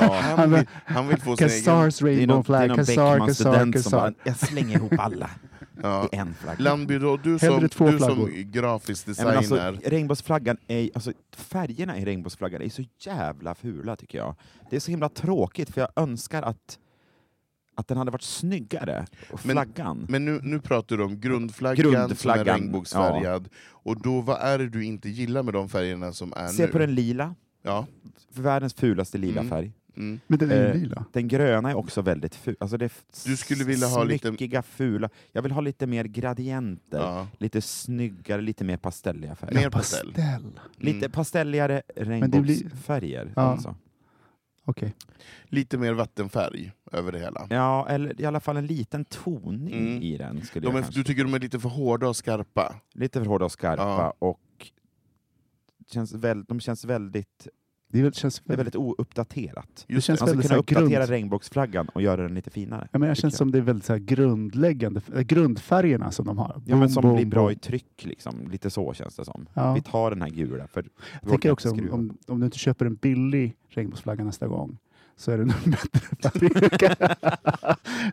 Speaker 1: Ja, han,
Speaker 2: Han-
Speaker 1: vill, han vill få sin egen...
Speaker 2: Kassars rainbow flag, Kassar, Kassar,
Speaker 3: Beckman-student som bara,
Speaker 2: Kassar.
Speaker 3: jag slänger ihop alla
Speaker 1: Ja.
Speaker 3: i en flagga.
Speaker 1: Landby, då, du, som,
Speaker 2: Hellre två
Speaker 1: du som
Speaker 2: flaggor.
Speaker 1: grafisk
Speaker 3: Nej, men
Speaker 1: designer,
Speaker 3: alltså, regnbågsflaggan är, alltså, färgerna i regnbågsflaggan är så jävla fula tycker jag. Det är så himla tråkigt för jag önskar att, att den hade varit snyggare,
Speaker 1: Men-
Speaker 3: flaggan.
Speaker 1: men nu, nu pratar du om grundflaggan,
Speaker 3: Grundflaggan,
Speaker 1: som är regnbågsfärgad. Och då, vad är det du inte gillar med de färgerna som är
Speaker 3: Se
Speaker 1: nu?
Speaker 3: på den lila,
Speaker 1: Ja.
Speaker 3: världens fulaste lila
Speaker 1: Mm.
Speaker 3: färg.
Speaker 1: Mm.
Speaker 2: Men den är
Speaker 3: Eh,
Speaker 2: ju lila.
Speaker 3: Den gröna är också väldigt ful. Alltså det är f-
Speaker 1: Du skulle vilja ha lite-
Speaker 3: smyckiga, fula. Jag vill ha lite mer gradienter.
Speaker 1: Ja.
Speaker 3: Lite snyggare, lite mer pastelliga färger.
Speaker 1: Mer pastell.
Speaker 3: Lite
Speaker 1: Mm.
Speaker 3: pastelligare
Speaker 2: det blir-
Speaker 3: regnbågsfärger.
Speaker 2: Ja.
Speaker 3: Alltså.
Speaker 2: Okej.
Speaker 1: Lite mer vattenfärg över det hela.
Speaker 3: Ja, eller i alla fall en liten toning
Speaker 1: Mm.
Speaker 3: i den. Skulle
Speaker 1: De
Speaker 3: jag
Speaker 1: är,
Speaker 3: kanske.
Speaker 1: du tycker de är lite för hårda och skarpa?
Speaker 3: Lite för hårda och skarpa
Speaker 1: Ja.
Speaker 3: och känns väl, de känns väldigt,
Speaker 2: Det är väl- känns
Speaker 3: det är
Speaker 2: väldigt
Speaker 3: väldigt ouppdaterat.
Speaker 2: Det känns
Speaker 3: Man skulle
Speaker 2: väldigt så
Speaker 3: kunna
Speaker 2: här
Speaker 3: uppdatera
Speaker 2: grund...
Speaker 3: regnbågsflaggan och göra den lite finare.
Speaker 2: Ja, men jag
Speaker 3: tycker
Speaker 2: känns som det är väldigt så här grundläggande, eh, grundfärgerna som de har.
Speaker 3: Ja, men
Speaker 2: Boom,
Speaker 3: som
Speaker 2: boom,
Speaker 3: blir bra
Speaker 2: boom.
Speaker 3: i tryck, liksom. lite så känns det som.
Speaker 2: Ja.
Speaker 3: Vi tar den här gula. För
Speaker 2: Jag tänker också om, om, om du inte köper en billig regnbågsflagga nästa gång så är det nog bättre fabrika.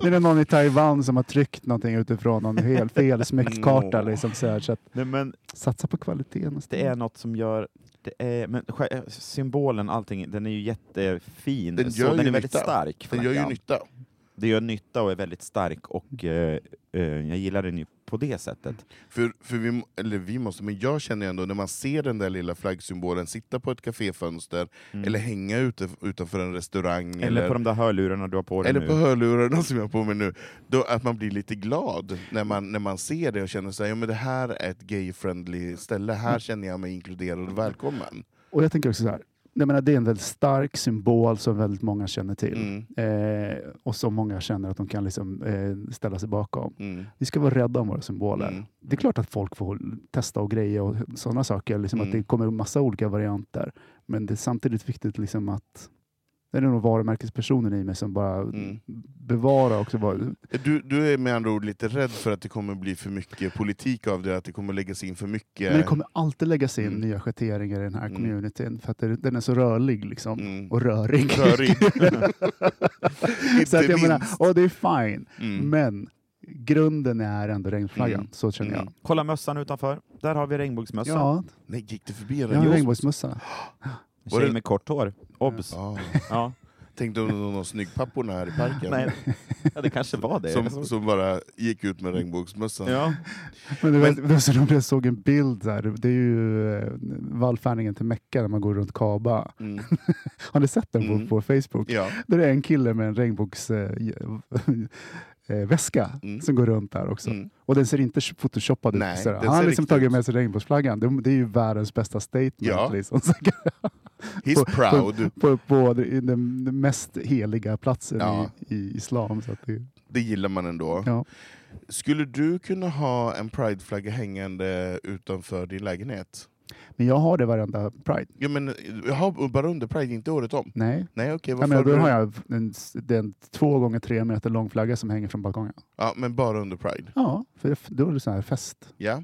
Speaker 2: det är någon i Taiwan som har tryckt någonting utifrån någon helt fel smyckkarta.
Speaker 1: Nå.
Speaker 2: Liksom, så här, så att
Speaker 3: Nej, men
Speaker 2: satsa på kvaliteten. nästa
Speaker 3: det
Speaker 2: gång.
Speaker 3: är något som gör... Det är, men sj- symbolen, allting, den är ju jättefin.
Speaker 1: Den
Speaker 3: så
Speaker 1: gör
Speaker 3: den
Speaker 1: ju
Speaker 3: är väldigt
Speaker 1: nytta.
Speaker 3: stark.
Speaker 1: Den gör ju
Speaker 3: flaggan.
Speaker 1: nytta.
Speaker 3: Det gör nytta och är väldigt stark och eh, eh, jag gillar den ju på det
Speaker 1: Mm.
Speaker 3: sättet.
Speaker 1: För, för vi, må- eller vi måste, men jag känner ju ändå när man ser den där lilla flaggsymbolen sitta på ett kaféfönster,
Speaker 2: Mm.
Speaker 1: eller hänga ute, utanför en restaurang, eller,
Speaker 3: Mm. Eller, på de där hörlurarna du har på dig
Speaker 1: eller
Speaker 3: nu.
Speaker 1: på hörlurarna som jag har på mig nu, då, att man blir lite glad när man, när man ser det och känner sig, ja men det här är ett gay-friendly ställe,
Speaker 2: Mm.
Speaker 1: här känner jag mig inkluderad och välkommen.
Speaker 2: Och jag tänker också så här. Jag menar, det är en väldigt stark symbol som väldigt många känner till.
Speaker 1: Mm,
Speaker 2: Eh, och som många känner att de kan liksom, eh, ställa sig bakom.
Speaker 1: mm,
Speaker 2: Vi ska vara rädda om våra symboler.
Speaker 1: Mm.
Speaker 2: Det är klart att folk får testa och greja och sådana saker. Liksom
Speaker 1: Mm.
Speaker 2: Att det kommer en massa olika varianter. Men det är samtidigt viktigt liksom att det är nog varumärkespersonen i mig som bara
Speaker 1: mm.
Speaker 2: bevarar också. Var,
Speaker 1: Du, du är med andra ord lite rädd för att det kommer bli för mycket politik av det, att det kommer läggas in för mycket...
Speaker 2: Men det kommer alltid läggas in
Speaker 1: Mm.
Speaker 2: nya schatteringar i den här
Speaker 1: Mm.
Speaker 2: communityn för att det, den är så rörlig. Liksom.
Speaker 1: Mm.
Speaker 2: Och rörig.
Speaker 1: Rörig.
Speaker 2: så att
Speaker 1: Inte
Speaker 2: jag menar,
Speaker 1: minst.
Speaker 2: och det är fine.
Speaker 1: Mm.
Speaker 2: Men grunden är ändå regnflaggan.
Speaker 1: Mm.
Speaker 2: Så känner
Speaker 1: Mm.
Speaker 2: jag.
Speaker 3: Kolla mössan utanför. Där har vi regnbågsmössan.
Speaker 2: Ja,
Speaker 1: Nej, gick det förbi
Speaker 2: jag har en
Speaker 1: redan?
Speaker 2: regnbågsmössa.
Speaker 3: En
Speaker 1: Var
Speaker 3: Tjej
Speaker 1: det-
Speaker 3: med kort hår. Obs! Ja.
Speaker 1: Ja.
Speaker 3: Ja.
Speaker 1: Ah. Tänkte om det var någon snyggpapporna här i parken
Speaker 3: Nej. ja, det kanske var det.
Speaker 1: som, som bara gick ut med regnbågsmössan.
Speaker 3: Ja.
Speaker 2: Men det var, det var så roligt, jag såg en bild där. Det är ju eh, vallfärningen till Mecka när man går runt Kaaba.
Speaker 1: Mm.
Speaker 2: Har ni sett den
Speaker 1: Mm.
Speaker 2: på, på Facebook?
Speaker 1: ja.
Speaker 2: Där det är en kille med en regnbågsväska eh, väska
Speaker 1: Mm.
Speaker 2: som går runt där också.
Speaker 1: Mm.
Speaker 2: Och den ser inte photoshoppad
Speaker 1: Nej,
Speaker 2: ut. sådär.
Speaker 1: den
Speaker 2: Han har
Speaker 1: ser
Speaker 2: liksom
Speaker 1: riktig
Speaker 2: tagit
Speaker 1: ut.
Speaker 2: med sig regnbågsflaggan. Det, det är ju världens bästa statement.
Speaker 1: Ja.
Speaker 2: Liksom.
Speaker 1: He's proud.
Speaker 2: på, på den, den mest heliga platsen
Speaker 1: Ja.
Speaker 2: i, i islam. Så att det,
Speaker 1: Det gillar man ändå.
Speaker 2: ja.
Speaker 1: Skulle du kunna ha en prideflagga hängande utanför din lägenhet?
Speaker 2: Men jag har det varenda Pride.
Speaker 1: Ja, men, jag har bara under pride, inte året om.
Speaker 2: Nej.
Speaker 1: Nej, okej.
Speaker 2: Ja,
Speaker 1: varför
Speaker 2: men då
Speaker 1: du-
Speaker 2: har jag en, den två gånger tre meter lång flagga som hänger från balkongen.
Speaker 1: ja, men bara under pride.
Speaker 2: Ja, för då är det sån här fest.
Speaker 1: Ja.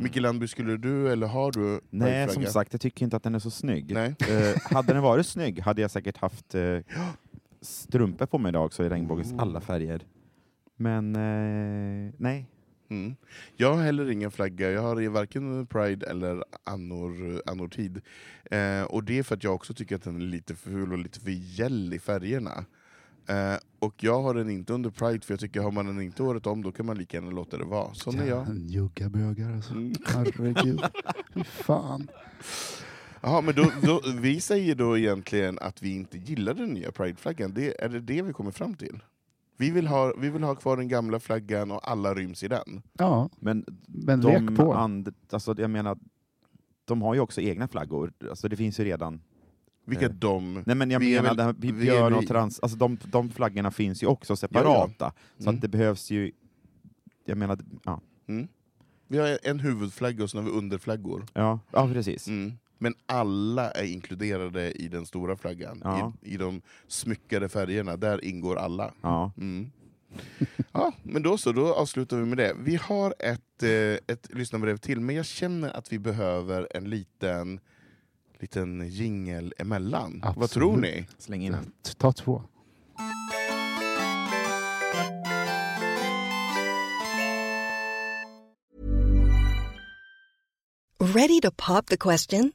Speaker 1: Micke Landby, skulle du eller har du
Speaker 3: Mm. Nej,
Speaker 1: prideflagga?
Speaker 3: som sagt, jag tycker inte att den är så snygg.
Speaker 1: Nej.
Speaker 3: Eh, hade den varit snygg hade jag säkert haft eh, strumpor på mig idag också i regnbågens alla färger. Men eh, nej.
Speaker 1: Mm. Jag har heller ingen flagga, jag har varken pride eller annor, annortid. Eh, och det är för att jag också tycker att den är lite för ful och lite för gäll i färgerna. Eh, och jag har den inte under pride, för jag tycker har man den inte året om då kan man lika gärna låta det vara. Sån är jag.
Speaker 2: En juggabögar alltså.
Speaker 1: Mm.
Speaker 2: Herregud. Fy fan.
Speaker 1: Jaha, men då, då, vi säger då egentligen att vi inte gillar den nya prideflaggan, det, är det det vi kommer fram till? Vi vill, ha, vi vill ha kvar den gamla flaggan och alla ryms i den.
Speaker 2: Ja,
Speaker 3: Men
Speaker 2: men
Speaker 3: de
Speaker 2: lek på.
Speaker 3: and, alltså, jag menar, de har ju också egna flaggor. Alltså, det finns ju redan.
Speaker 1: Vilka
Speaker 3: Eh.
Speaker 1: de...
Speaker 3: Nej, men jag
Speaker 1: Vi är
Speaker 3: menar,
Speaker 1: väl-
Speaker 3: det här, vi
Speaker 1: vi är
Speaker 3: björn
Speaker 1: vi.
Speaker 3: och trans, alltså, de, de flaggorna finns ju också separata. Så
Speaker 1: Mm.
Speaker 3: att det behövs ju... Jag menar, ja.
Speaker 1: Vi har en huvudflagga och sen har vi underflaggor.
Speaker 3: Ja, ja precis.
Speaker 1: Mm. Men alla är inkluderade i den stora flaggan.
Speaker 3: Ja.
Speaker 1: I, I de smyckade färgerna, där ingår alla.
Speaker 3: Ja.
Speaker 1: Mm. Ja, men då så, då avslutar vi med det. Vi har ett, eh, ett lyssnarbrev till, men jag känner att vi behöver en liten, liten jingel emellan. Vad
Speaker 2: Absolut.
Speaker 1: tror ni?
Speaker 3: Släng in den.
Speaker 2: Ta två.
Speaker 4: Ready to pop the question?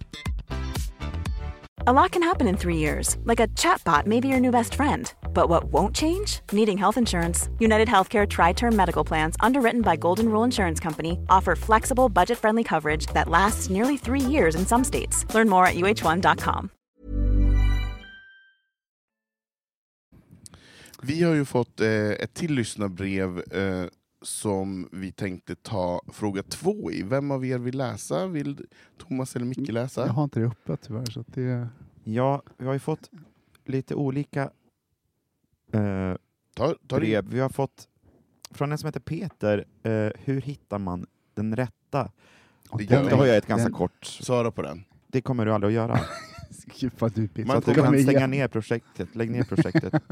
Speaker 5: A lot can happen in three years, like a chatbot may be your new best friend. But what won't change? Needing health insurance. United Healthcare Tri Term Medical Plans, underwritten by Golden Rule Insurance Company, offer flexible, budget friendly coverage that lasts nearly three years in some states. Learn more at uh1.com.
Speaker 1: Vi har ju fått eh, ett till lyssnarbrev eh, som vi tänkte ta fråga två i. Vem av er vill läsa? Vill Thomas eller
Speaker 3: Mm.
Speaker 1: Micke läsa?
Speaker 2: Jag har inte det uppe tyvärr. Så att det...
Speaker 3: Ja, vi har ju fått lite olika eh,
Speaker 1: Ta, ta det.
Speaker 3: brev. Vi har fått från en som heter Peter. Eh, hur hittar man den rätta?
Speaker 1: Det
Speaker 3: Då
Speaker 1: gör
Speaker 3: har jag ett
Speaker 2: Den-
Speaker 3: ganska kort.
Speaker 1: Svara på den.
Speaker 3: Det kommer du aldrig att göra.
Speaker 2: Gud vad du Peter.
Speaker 3: Så att du
Speaker 2: Kom
Speaker 3: kan
Speaker 2: igen.
Speaker 3: stänga ner projektet. Lägg ner projektet.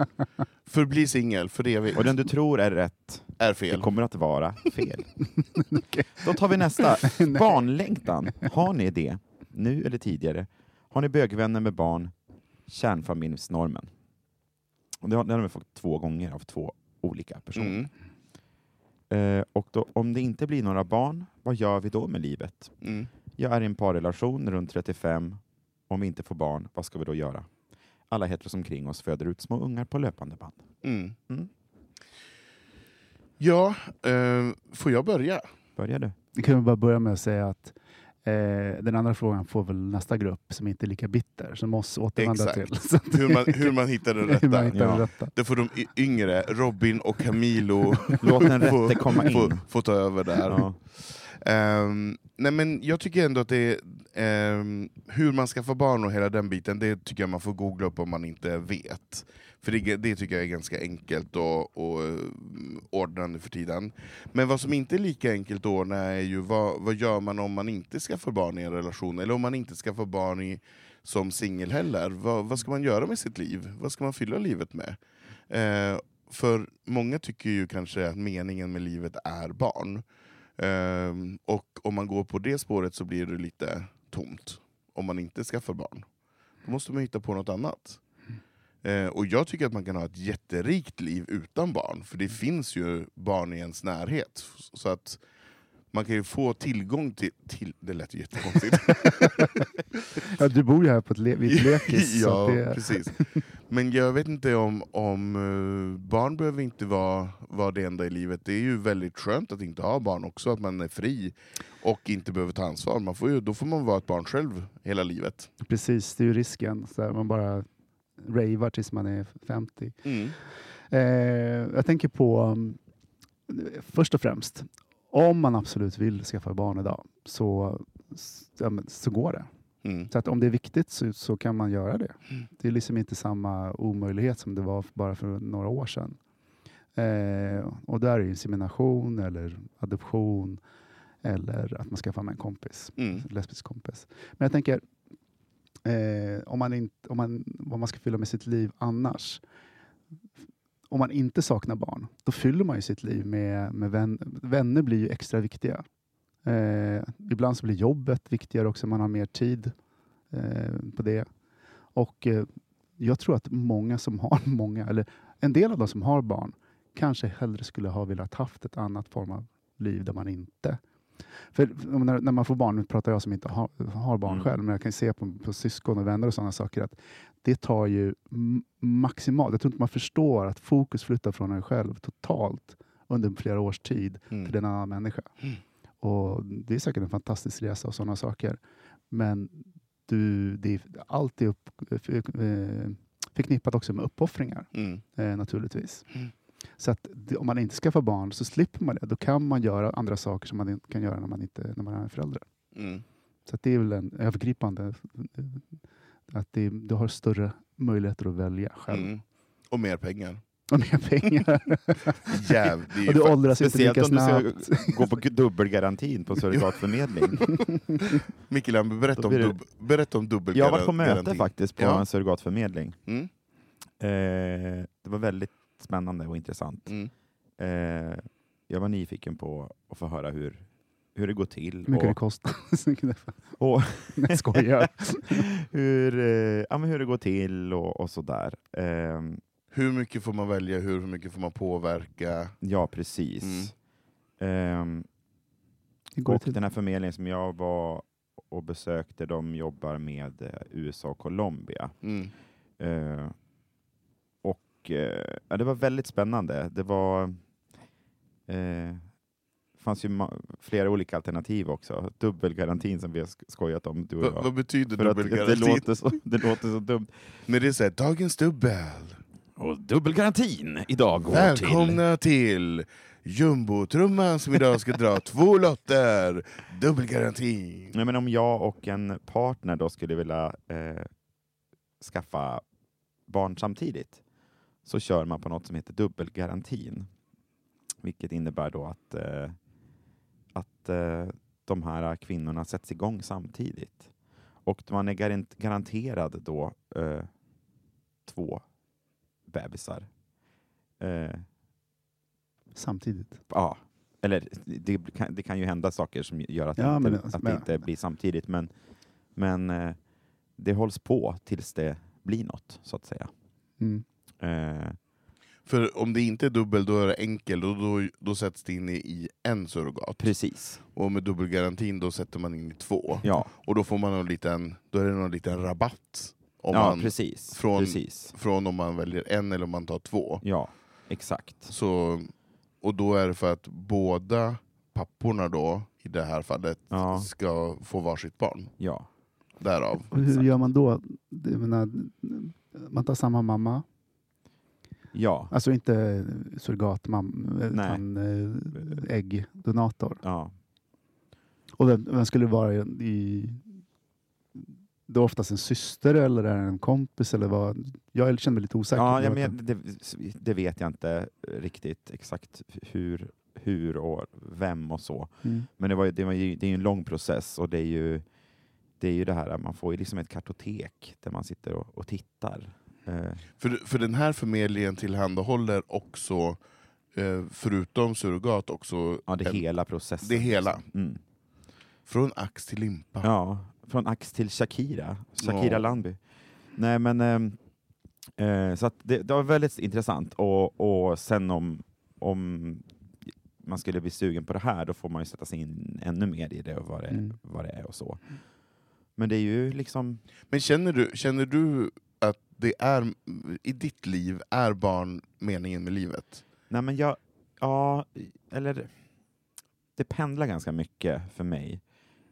Speaker 1: Förbli singel för evigt.
Speaker 3: Och den du tror är rätt,
Speaker 1: är
Speaker 3: det
Speaker 1: fel.
Speaker 3: kommer att vara fel. Då tar vi nästa. Barnlängtan. Har ni det? Nu eller tidigare? Har ni bögvänner med barn? Kärnfamiljsnormen. Och det har, den har vi fått två gånger av två olika personer.
Speaker 1: Mm.
Speaker 3: Eh, och då, om det inte blir några barn, vad gör vi då med livet?
Speaker 1: Mm.
Speaker 3: Jag är i en parrelation runt 35. Om vi inte får barn, vad ska vi då göra? Alla heteros omkring oss föder ut små ungar på löpande band.
Speaker 1: Mm.
Speaker 3: Mm.
Speaker 1: Ja, eh, får jag börja?
Speaker 3: Börjar du?
Speaker 2: Vi kan väl bara börja med att säga att eh, den andra frågan får väl nästa grupp som inte är lika bitter, som oss återvandra
Speaker 1: Exakt.
Speaker 2: till. Så att-
Speaker 1: Hur man, hur man hittar den
Speaker 2: hur man
Speaker 1: rätta.
Speaker 2: hittar den
Speaker 3: Ja.
Speaker 2: rätta.
Speaker 1: Det får de y- yngre, Robin och Camilo,
Speaker 3: Låt den
Speaker 1: Få-
Speaker 3: rätte komma in.
Speaker 1: få, få ta över där.
Speaker 3: Ja.
Speaker 1: Ehm, nej men jag tycker ändå att det är, ehm, hur man skaffar barn och hela den biten, det tycker jag man får googla upp om man inte vet. För det, det tycker jag är ganska enkelt och, och eh, ordnande för tiden. Men vad som inte är lika enkelt att ordna är ju vad, vad gör man om man inte skaffar barn i en relation, eller om man inte skaffar barn i, som singel heller. Vad, vad ska man göra med sitt liv? Vad ska man fylla livet med? Eh, för många tycker ju kanske att meningen med livet är barn. Ehm, och om man går på det spåret så blir det lite tomt. Om man inte skaffar barn. Då måste man hitta på något annat. Eh, och jag tycker att man kan ha ett jätterikt liv utan barn. För det finns ju barn i ens närhet. Så att man kan ju få tillgång till... till det lät ju jättekonstigt.
Speaker 2: Ja, du bor ju här på ett le- vid ett lekis. så
Speaker 1: ja,
Speaker 2: att det,
Speaker 1: precis. Men jag vet inte om, om eh, barn behöver inte vara, vara det enda i livet. Det är ju väldigt skönt att inte ha barn också, att man är fri och inte behöver ta ansvar. Man får ju, då får man vara ett barn själv hela livet.
Speaker 2: precis, det är ju risken. Så här, man bara ravar tills man är 50.
Speaker 1: Mm.
Speaker 2: Eh, jag tänker på, um, först och främst, om man absolut vill skaffa barn idag så, s- ja, men, så går det.
Speaker 1: Mm.
Speaker 2: Så att om det är viktigt så, så kan man göra det. Det är liksom inte samma omöjlighet som det var för- bara för några år sedan. Eh, Eh, och där är ju insemination eller adoption eller att man skaffar med en kompis,
Speaker 1: Mm.
Speaker 2: lesbisk kompis. Men jag tänker, eh, om man inte, om man, vad man ska fylla med sitt liv annars. Om man inte saknar barn, då fyller man ju sitt liv med, med vän, vänner blir ju extra viktiga. Eh, ibland så blir jobbet viktigare också, man har mer tid eh, på det. Och eh, jag tror att många som har många, eller en del av de som har barn, kanske hellre skulle ha velat haft ett annat form av liv där man inte... För om- när, när man får barn, nu pratar jag som inte har, har barn
Speaker 3: Mm.
Speaker 2: själv, men jag kan se på, på syskon och vänner och sådana saker att det tar ju m- maximalt, jag tror inte man förstår att fokus flyttar från en själv totalt under flera års tid till en annan människa. Och det är säkert en fantastisk resa och sådana saker. Men du, det är alltid upp, f- eh, förknippat också med uppoffringar
Speaker 1: Mm.
Speaker 2: eh, naturligtvis.
Speaker 1: Mm.
Speaker 2: Så att det- om man inte skaffar barn så slipper man det. Då kan man göra andra saker som man inte kan göra när man, inte, när man är förälder.
Speaker 1: Mm.
Speaker 2: Så att det är väl en övergripande... eh, Att det, du har större möjligheter att välja själv.
Speaker 1: Mm. Och mer pengar.
Speaker 2: Och mer pengar.
Speaker 1: Jäv, det är ju
Speaker 2: och du
Speaker 1: fa-
Speaker 2: åldras inte
Speaker 3: Speciellt
Speaker 2: lika
Speaker 3: om du
Speaker 2: snabbt.
Speaker 3: ska gå på dubbelgarantin på surrogatförmedling.
Speaker 1: Mikael, Lambe, berätta
Speaker 3: Då
Speaker 1: om,
Speaker 3: blir det-
Speaker 1: dubb, berätta om dubbelgaranti.
Speaker 3: Jag har varit på möte faktiskt på
Speaker 1: Ja.
Speaker 3: en surrogatförmedling.
Speaker 1: Mm.
Speaker 3: Eh, det var väldigt spännande och intressant.
Speaker 1: Mm.
Speaker 3: Eh, jag var nyfiken på att få höra hur, hur det går till.
Speaker 2: Hur mycket det
Speaker 3: Och,
Speaker 2: kostar.
Speaker 3: och
Speaker 2: Nej, jag skojar.
Speaker 3: hur, eh, ja, men hur det går till och, och sådär. Eh,
Speaker 1: Hur mycket får man välja, hur mycket får man påverka? Mm.
Speaker 3: ja, precis. Eh,
Speaker 2: Hur går typ det
Speaker 3: och
Speaker 2: till?
Speaker 3: den här förmedlingen som jag var och besökte, de jobbar med eh, USA och Colombia.
Speaker 1: Mm.
Speaker 3: Eh, och eh, ja, det var väldigt spännande. Det var... Eh, fanns ju ma- flera olika alternativ också. Dubbelgarantin som vi har sk- skojat om, du och
Speaker 1: Va, vad
Speaker 3: jag.
Speaker 1: betyder
Speaker 3: För att det,
Speaker 1: dubbelgaranti?
Speaker 3: låter så, det låter så dumt.
Speaker 1: När det är såhär, dagens dubbel,
Speaker 3: Och dubbelgarantin idag
Speaker 1: välkomna till jumbotrumman som idag ska dra två lotter, dubbelgaranti.
Speaker 3: Nej, men om jag och en partner då skulle vilja eh, skaffa barn samtidigt så kör man på något som heter dubbelgarantin. Vilket innebär då att, eh, att eh, de här kvinnorna sätts igång samtidigt. Och man är garant- garanterad då eh, två bebisar. Eh,
Speaker 2: Samtidigt.
Speaker 3: ja, eller det kan, det kan ju hända saker som gör att,
Speaker 2: Ja,
Speaker 3: det, inte,
Speaker 2: men alltså,
Speaker 3: att det
Speaker 2: men-
Speaker 3: inte blir samtidigt, men, men eh, det hålls på tills det blir något, så att säga.
Speaker 2: Mm.
Speaker 3: Eh,
Speaker 1: För om det inte är dubbel, då är det enkel, och då, då sätts det in i- i en surrogat.
Speaker 3: precis.
Speaker 1: Och med dubbelgarantin då sätter man in i två.
Speaker 3: Ja,
Speaker 1: Och då får man någon liten, då är det någon liten rabatt. Om
Speaker 3: ja
Speaker 1: man,
Speaker 3: precis.
Speaker 1: från-
Speaker 3: precis.
Speaker 1: från om man väljer en eller om man tar två.
Speaker 3: Ja, exakt.
Speaker 1: Så, och då är det för att båda papporna då, i det här fallet,
Speaker 3: Ja.
Speaker 1: ska få varsitt barn.
Speaker 3: Ja.
Speaker 1: Därav.
Speaker 2: Och hur
Speaker 3: Exakt.
Speaker 2: gör man då? Jag menar, man tar samma mamma,
Speaker 3: Ja.
Speaker 2: Alltså inte surrogatmamma,
Speaker 3: Nej.
Speaker 2: utan eh, äggdonator.
Speaker 3: ja.
Speaker 2: Och vem, vem skulle det vara i- i... Det är oftast en syster eller är det en kompis? Eller vad? Jag känner mig lite osäker.
Speaker 3: Ja, ja, men jag- det, det vet jag inte riktigt exakt hur, hur och vem och så.
Speaker 2: Mm.
Speaker 3: Men det, var, ju- det, var ju, det är ju en lång process och det är ju det, är ju det här att man får ju liksom ett kartotek där man sitter och, och tittar. Eh,
Speaker 1: För, för den här förmedlingen tillhandahåller också, eh, förutom surrogat, också
Speaker 3: ja, det är
Speaker 1: en-
Speaker 3: hela processen.
Speaker 1: Eh, det är hela.
Speaker 3: Mm.
Speaker 1: Från ax till limpa.
Speaker 3: Ja, från ax till Shakira. Shakira
Speaker 1: Ja.
Speaker 3: Landby. Nej, men, ehm, eh, så att det, det var väldigt intressant. Och, och sen om, om man skulle bli sugen på det här, då får man ju sätta sig in ännu mer i det och vad det,
Speaker 2: Mm.
Speaker 3: vad det är och så. Men det är ju liksom...
Speaker 1: Men känner du, känner du att det är, i ditt liv, är barn meningen med livet?
Speaker 3: Nej, men jag, ja, eller det pendlar ganska mycket för mig.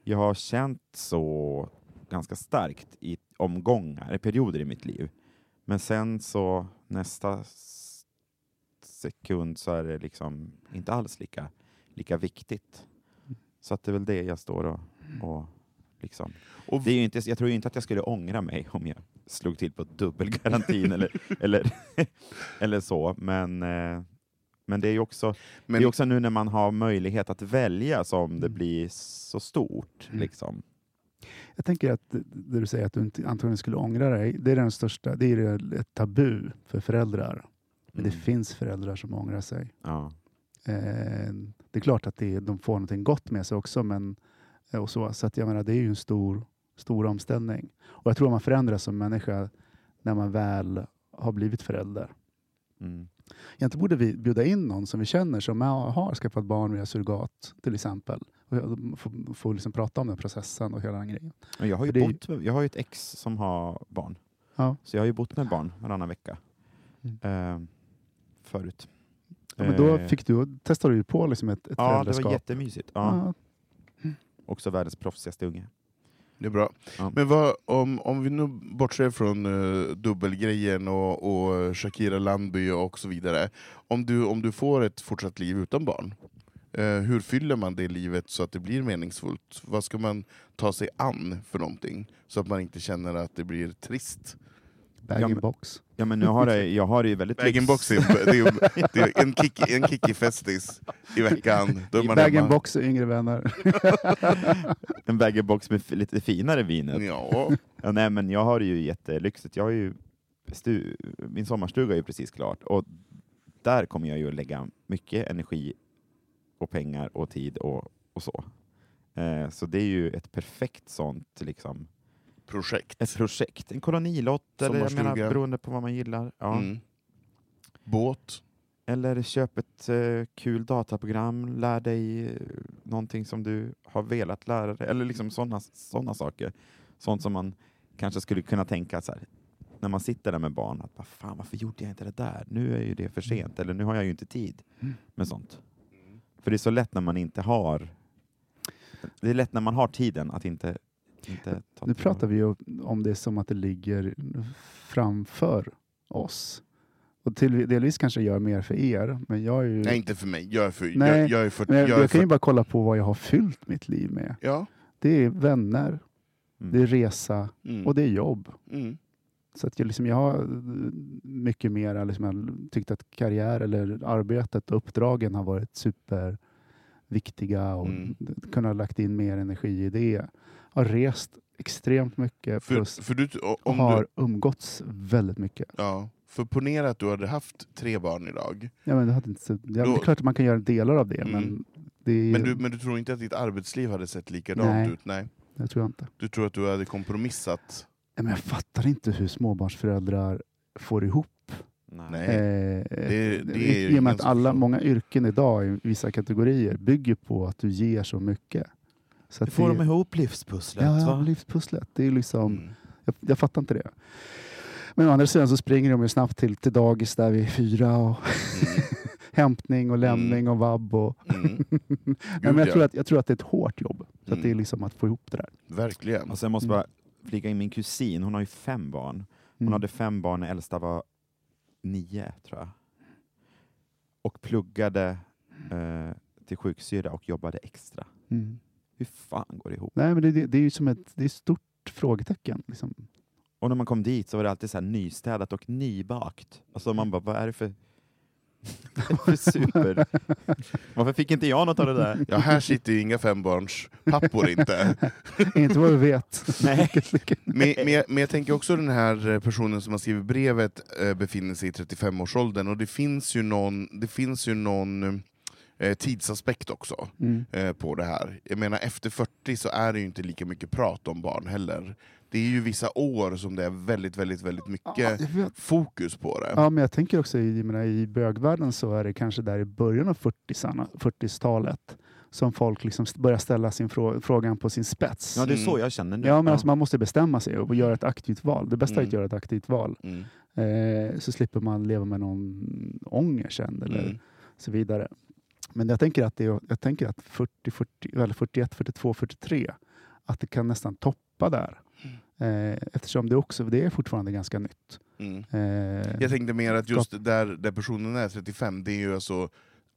Speaker 3: Jag har känt så ganska starkt i omgångar, i perioder i mitt liv. Men sen så nästa s- sekund så är det liksom inte alls lika, lika viktigt. Så att det är väl det jag står och, och liksom.
Speaker 1: Och
Speaker 3: Det är ju inte, jag tror ju inte att jag skulle ångra mig om jag slog till på dubbelgarantin eller, eller, eller så, men eh, Men det är ju också,
Speaker 1: Men- Mm.
Speaker 3: det är också nu när man har möjlighet att välja som det blir så stort.
Speaker 2: Mm.
Speaker 3: Liksom.
Speaker 2: Jag tänker att det- det du säger att du inte, antagligen skulle ångra dig, det är den största, det är det- ett tabu för föräldrar. Men det
Speaker 3: Mm.
Speaker 2: finns föräldrar som ångrar sig.
Speaker 3: Ja.
Speaker 2: Eh, det är klart att det, de får någonting gott med sig också, men eh, och så, så att jag menar, det är ju en stor, stor omställning. Och jag tror att man förändras som människa när man väl har blivit förälder.
Speaker 3: Mm.
Speaker 2: Egentligen borde vi bjuda in någon som vi känner som har har skaffat barn via surrogat till exempel. Och få, få liksom prata om den processen och hela den grejen.
Speaker 3: Men jag, har ju
Speaker 2: För det är ju-
Speaker 3: bott med, jag har ju ett ex som har barn,
Speaker 2: Ja.
Speaker 3: så jag har ju bott med barn varannan vecka
Speaker 2: Mm.
Speaker 3: eh, förut.
Speaker 2: Ja, men då
Speaker 3: Eh,
Speaker 2: fick du, testade du ju på liksom ett, ett
Speaker 3: ja, det
Speaker 2: föräldraskap.
Speaker 3: var jättemysigt. Ja.
Speaker 2: Ja.
Speaker 3: Också världens proffsigaste unge.
Speaker 1: Det är bra.
Speaker 3: Ja.
Speaker 1: Men vad, om, om vi nu bortser från eh, dubbelgrejen och, och Shakira Landby och så vidare. Om du, om du får ett fortsatt liv utan barn, eh, hur fyller man det livet så att det blir meningsfullt? Vad ska man ta sig an för någonting? Så att man inte känner att det blir trist.
Speaker 3: Ja,
Speaker 2: Bag in
Speaker 3: men-
Speaker 2: box.
Speaker 3: Ja, men nu har det, jag har det ju väldigt...
Speaker 1: bag in
Speaker 3: lyx-
Speaker 1: box är- det är, ju- det är en kick- en kickig festis i veckan. Då är man
Speaker 2: Bag in
Speaker 1: hemma.
Speaker 2: box och yngre vänner.
Speaker 3: En bag in box med f- lite finare vinet.
Speaker 1: Ja,
Speaker 3: Ja, nej, men jag har det ju jättelyxigt. Jag har ju stu- min sommarstuga är ju precis klart och där kommer jag ju att lägga mycket energi och pengar och tid och, och så. Eh, så det är ju ett perfekt sånt liksom,
Speaker 1: projekt.
Speaker 3: ett projekt, en kolonilott eller jag menar,
Speaker 1: Sommarstuga.
Speaker 3: beroende på vad man gillar. Ja.
Speaker 1: Mm. Båt.
Speaker 3: Eller köp ett eh, kul dataprogram, lär dig eh, någonting som du har velat lära dig, eller liksom sådana såna saker. Sånt som man kanske skulle kunna tänka så här, när man sitter där med barn, att "Vad fan varför gjorde jag inte det där? Nu är ju det för
Speaker 2: Mm.
Speaker 3: sent, eller nu har jag ju inte tid med sånt. För det är så lätt när man inte har, det är lätt när man har tiden att inte, inte ta
Speaker 2: Nu
Speaker 3: till
Speaker 2: pratar vi ju om det som att det ligger framför oss. Och till, delvis kanske gör mer för er, men jag är ju...
Speaker 1: Nej, inte för mig. Jag är för...
Speaker 2: Mm. Nej,
Speaker 1: Jag, jag är för,
Speaker 2: men jag,
Speaker 1: jag är
Speaker 2: jag kan ju
Speaker 1: för
Speaker 2: bara kolla på vad jag har fyllt mitt liv med.
Speaker 1: ja.
Speaker 2: Det är vänner,
Speaker 3: Mm.
Speaker 2: det är resa
Speaker 1: Mm.
Speaker 2: och det är jobb.
Speaker 1: Mm.
Speaker 2: Så att jag, liksom, jag har eh, mycket mer liksom, jag tyckt att karriär eller arbetet och uppdragen har varit superviktiga och
Speaker 1: Mm.
Speaker 2: d- kunnat lagt in mer energi i det. Har rest extremt mycket
Speaker 1: För,
Speaker 2: plus
Speaker 1: för, du, o- om
Speaker 2: har
Speaker 1: du,
Speaker 2: umgåtts väldigt mycket.
Speaker 1: ja, för ponera att du hade haft tre barn idag,
Speaker 2: Ja, men det, hade inte, så- ja, det
Speaker 1: Då-
Speaker 2: är klart att man kan göra delar av det,
Speaker 1: Mm.
Speaker 2: men, det är,
Speaker 1: men du, men du tror inte att ditt arbetsliv hade sett likadant
Speaker 2: Nej.
Speaker 1: ut? Nej.
Speaker 2: det tror jag inte.
Speaker 1: Du tror att du hade kompromissat?
Speaker 2: Nej, Men jag fattar inte hur småbarnsföräldrar får ihop
Speaker 3: Nej.
Speaker 1: Nej.
Speaker 2: Eh,
Speaker 1: det är ju
Speaker 2: I och med
Speaker 1: ingen
Speaker 2: att
Speaker 1: som
Speaker 2: alla,
Speaker 1: förstår.
Speaker 2: många yrken idag i vissa kategorier bygger på att du ger så mycket. Så
Speaker 3: Hur
Speaker 2: att
Speaker 3: får
Speaker 2: det,
Speaker 3: de ihop livspusslet?
Speaker 2: ja, ja,
Speaker 3: va?
Speaker 2: livspusslet. Det är liksom,
Speaker 1: Mm.
Speaker 2: jag, jag fattar inte det. Men å andra sidan så springer de ju snabbt till, till dagis där vi är fyra och hämtning och lämning och vabb. Och,
Speaker 1: Mm. Mm.
Speaker 2: nej, men
Speaker 1: Gud,
Speaker 2: jag,
Speaker 1: ja.
Speaker 2: tror att, jag tror att det är ett hårt jobb. Så
Speaker 1: Mm.
Speaker 2: att det är liksom att få ihop det där.
Speaker 1: Verkligen.
Speaker 3: Och sen måste jag
Speaker 2: Mm.
Speaker 3: bara flika in min kusin, hon har ju fem barn. Hon
Speaker 2: Mm.
Speaker 3: hade fem barn när äldsta var nio, tror jag. Och pluggade eh, till sjuksyra och jobbade extra.
Speaker 2: Mm.
Speaker 3: Hur fan går det ihop?
Speaker 2: Nej, men det, det, det är ju som ett det är ett stort frågetecken. Liksom.
Speaker 3: Och när man kom dit så var det alltid så här nystädat och nybakt. Alltså man bara, vad är det för, vad är det för super? Varför fick inte jag något av det där?
Speaker 1: Ja, här sitter ju inga fembarns pappor inte.
Speaker 2: inte vad vi vet.
Speaker 3: Nej.
Speaker 1: Men, men, jag, men jag tänker också den här eh, personen som har skrivit brevet eh, befinner sig i 35-årsåldern och det finns ju någon, det finns ju någon eh, tidsaspekt också.
Speaker 2: Mm.
Speaker 1: eh, på det här. Jag menar efter 40 så är det ju inte lika mycket prat om barn heller. Det är ju vissa år som det är väldigt, väldigt, väldigt mycket
Speaker 2: jag vet.
Speaker 1: fokus på det.
Speaker 2: Ja, men jag tänker också i, jag menar, i bögvärlden så är det kanske där i början av 40-sarna 40-talet som folk liksom st- börjar ställa sin frå- frågan på sin spets.
Speaker 3: Ja,
Speaker 2: Mm. Ja,
Speaker 3: det är så jag känner nu.
Speaker 2: men alltså, man måste bestämma sig och göra ett aktivt val. Det bästa är
Speaker 1: Mm.
Speaker 2: att göra ett aktivt val.
Speaker 1: Mm.
Speaker 2: Eh, så slipper man leva med någon ånger sen eller
Speaker 1: Mm.
Speaker 2: så vidare. Men jag tänker att, det, är- jag tänker att 40, 40, eller 41, 42, 43 att det kan nästan toppa där. Eh, eftersom det också det är fortfarande ganska nytt.
Speaker 1: Mm.
Speaker 2: Eh,
Speaker 1: Jag tänkte mer att just där, där personen är 35, det är ju alltså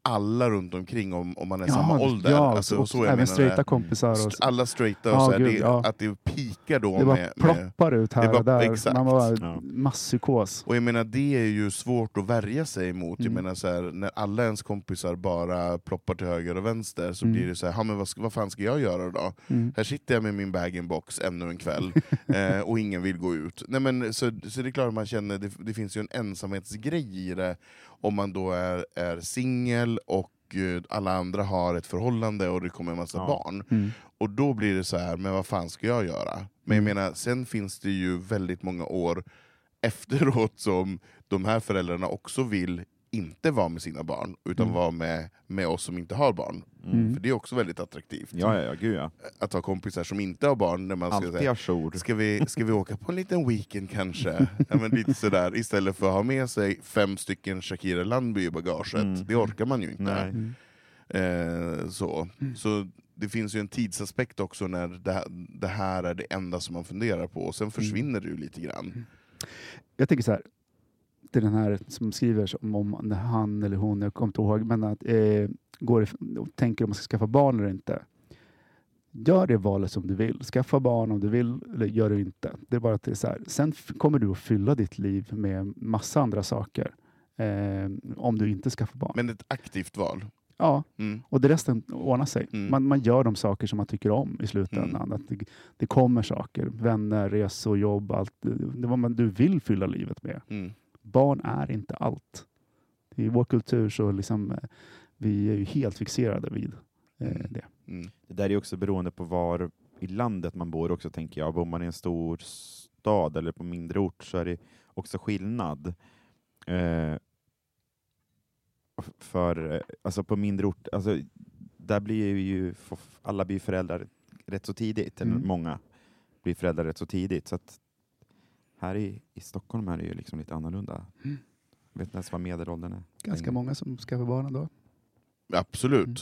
Speaker 1: alla runt omkring om, om man är
Speaker 2: Ja,
Speaker 1: samma ålder.
Speaker 2: ja,
Speaker 1: alltså,
Speaker 2: och
Speaker 1: så jag menar
Speaker 2: även
Speaker 1: det.
Speaker 2: straighta kompisar. Och,
Speaker 1: St- Alla straighta,
Speaker 2: Ja,
Speaker 1: och så här,
Speaker 2: gud,
Speaker 1: det,
Speaker 2: ja.
Speaker 1: att det pikar då
Speaker 2: det bara
Speaker 1: med, med...
Speaker 2: ploppar ut här
Speaker 1: det
Speaker 2: och
Speaker 1: bara-
Speaker 2: där.
Speaker 1: exakt.
Speaker 2: Man bara
Speaker 3: Ja.
Speaker 2: masspsykos.
Speaker 1: Och jag menar det är ju svårt att värja sig emot.
Speaker 2: Mm.
Speaker 1: Jag menar så här, när alla ens kompisar bara ploppar till höger och vänster så
Speaker 2: Mm.
Speaker 1: blir det så här, "Ja, men vad, ska- vad fan ska jag göra då?
Speaker 2: Mm.
Speaker 1: Här sitter jag med min bag-in-box ännu en kväll eh, och ingen vill gå ut. Nej, men, så, så det är klart att man känner, det, det finns ju en ensamhetsgrej i det om man då är, är singel och eh, alla andra har ett förhållande och det kommer en massa
Speaker 3: Ja.
Speaker 1: barn.
Speaker 2: Mm.
Speaker 1: Och då blir det så här, men vad fan ska jag göra? Men
Speaker 3: Mm.
Speaker 1: jag menar, sen finns det ju väldigt många år efteråt som de här föräldrarna också vill inte vara med sina barn, utan
Speaker 3: Mm.
Speaker 1: vara med, med oss som inte har barn. För det är också väldigt attraktivt
Speaker 3: Ja, ja, ja, gud ja.
Speaker 1: att ha kompisar som inte har barn. När man ska,
Speaker 3: Alltid
Speaker 1: säga,
Speaker 3: ajour.
Speaker 1: ska, vi, ska vi åka på en liten weekend kanske? ja, men lite sådär. Istället för att ha med sig fem stycken Shakira Landby i bagaget. Det orkar man ju inte.
Speaker 3: Mm. Nej.
Speaker 1: Eh, så. så det finns ju en tidsaspekt också när det här, det här är det enda som man funderar på. Och
Speaker 3: Mm.
Speaker 1: sen försvinner det ju lite grann.
Speaker 2: Jag tänker så här, till den här som skriver som om när han eller hon, jag kommer inte ihåg, men att eh, går if- och tänker om man ska skaffa barn eller inte. Gör det valet som du vill. Skaffa barn om du vill eller gör det inte. Det är bara att det är så här. Sen f- kommer du att fylla ditt liv med massa andra saker eh, om du inte skaffar barn.
Speaker 1: Men ett aktivt val.
Speaker 2: ja,
Speaker 1: Mm.
Speaker 2: och det resten ordnar sig.
Speaker 1: Mm.
Speaker 2: Man, man gör de saker som man tycker om i slutändan. Att det, det kommer saker. Vänner, resor, jobb, allt. Det är vad man, du vill fylla livet med
Speaker 1: Mm.
Speaker 2: barn är inte allt. I vår kultur så liksom, eh, vi är ju helt fixerade vid eh, det.
Speaker 1: Mm.
Speaker 3: Det där är ju också beroende på var i landet man bor också, tänker jag. Bor man i en stor stad eller på mindre ort så är det också skillnad. Eh, f- för, eh, alltså på mindre ort, alltså, där blir ju f- alla blir föräldrar rätt så tidigt, eller
Speaker 2: Mm.
Speaker 3: många blir föräldrar rätt så tidigt. Så att här i, i Stockholm är det ju liksom lite annorlunda. Jag vet inte ens vad medelåldern är.
Speaker 2: Ganska många som skaffar barn ändå.
Speaker 1: Absolut.
Speaker 3: Mm.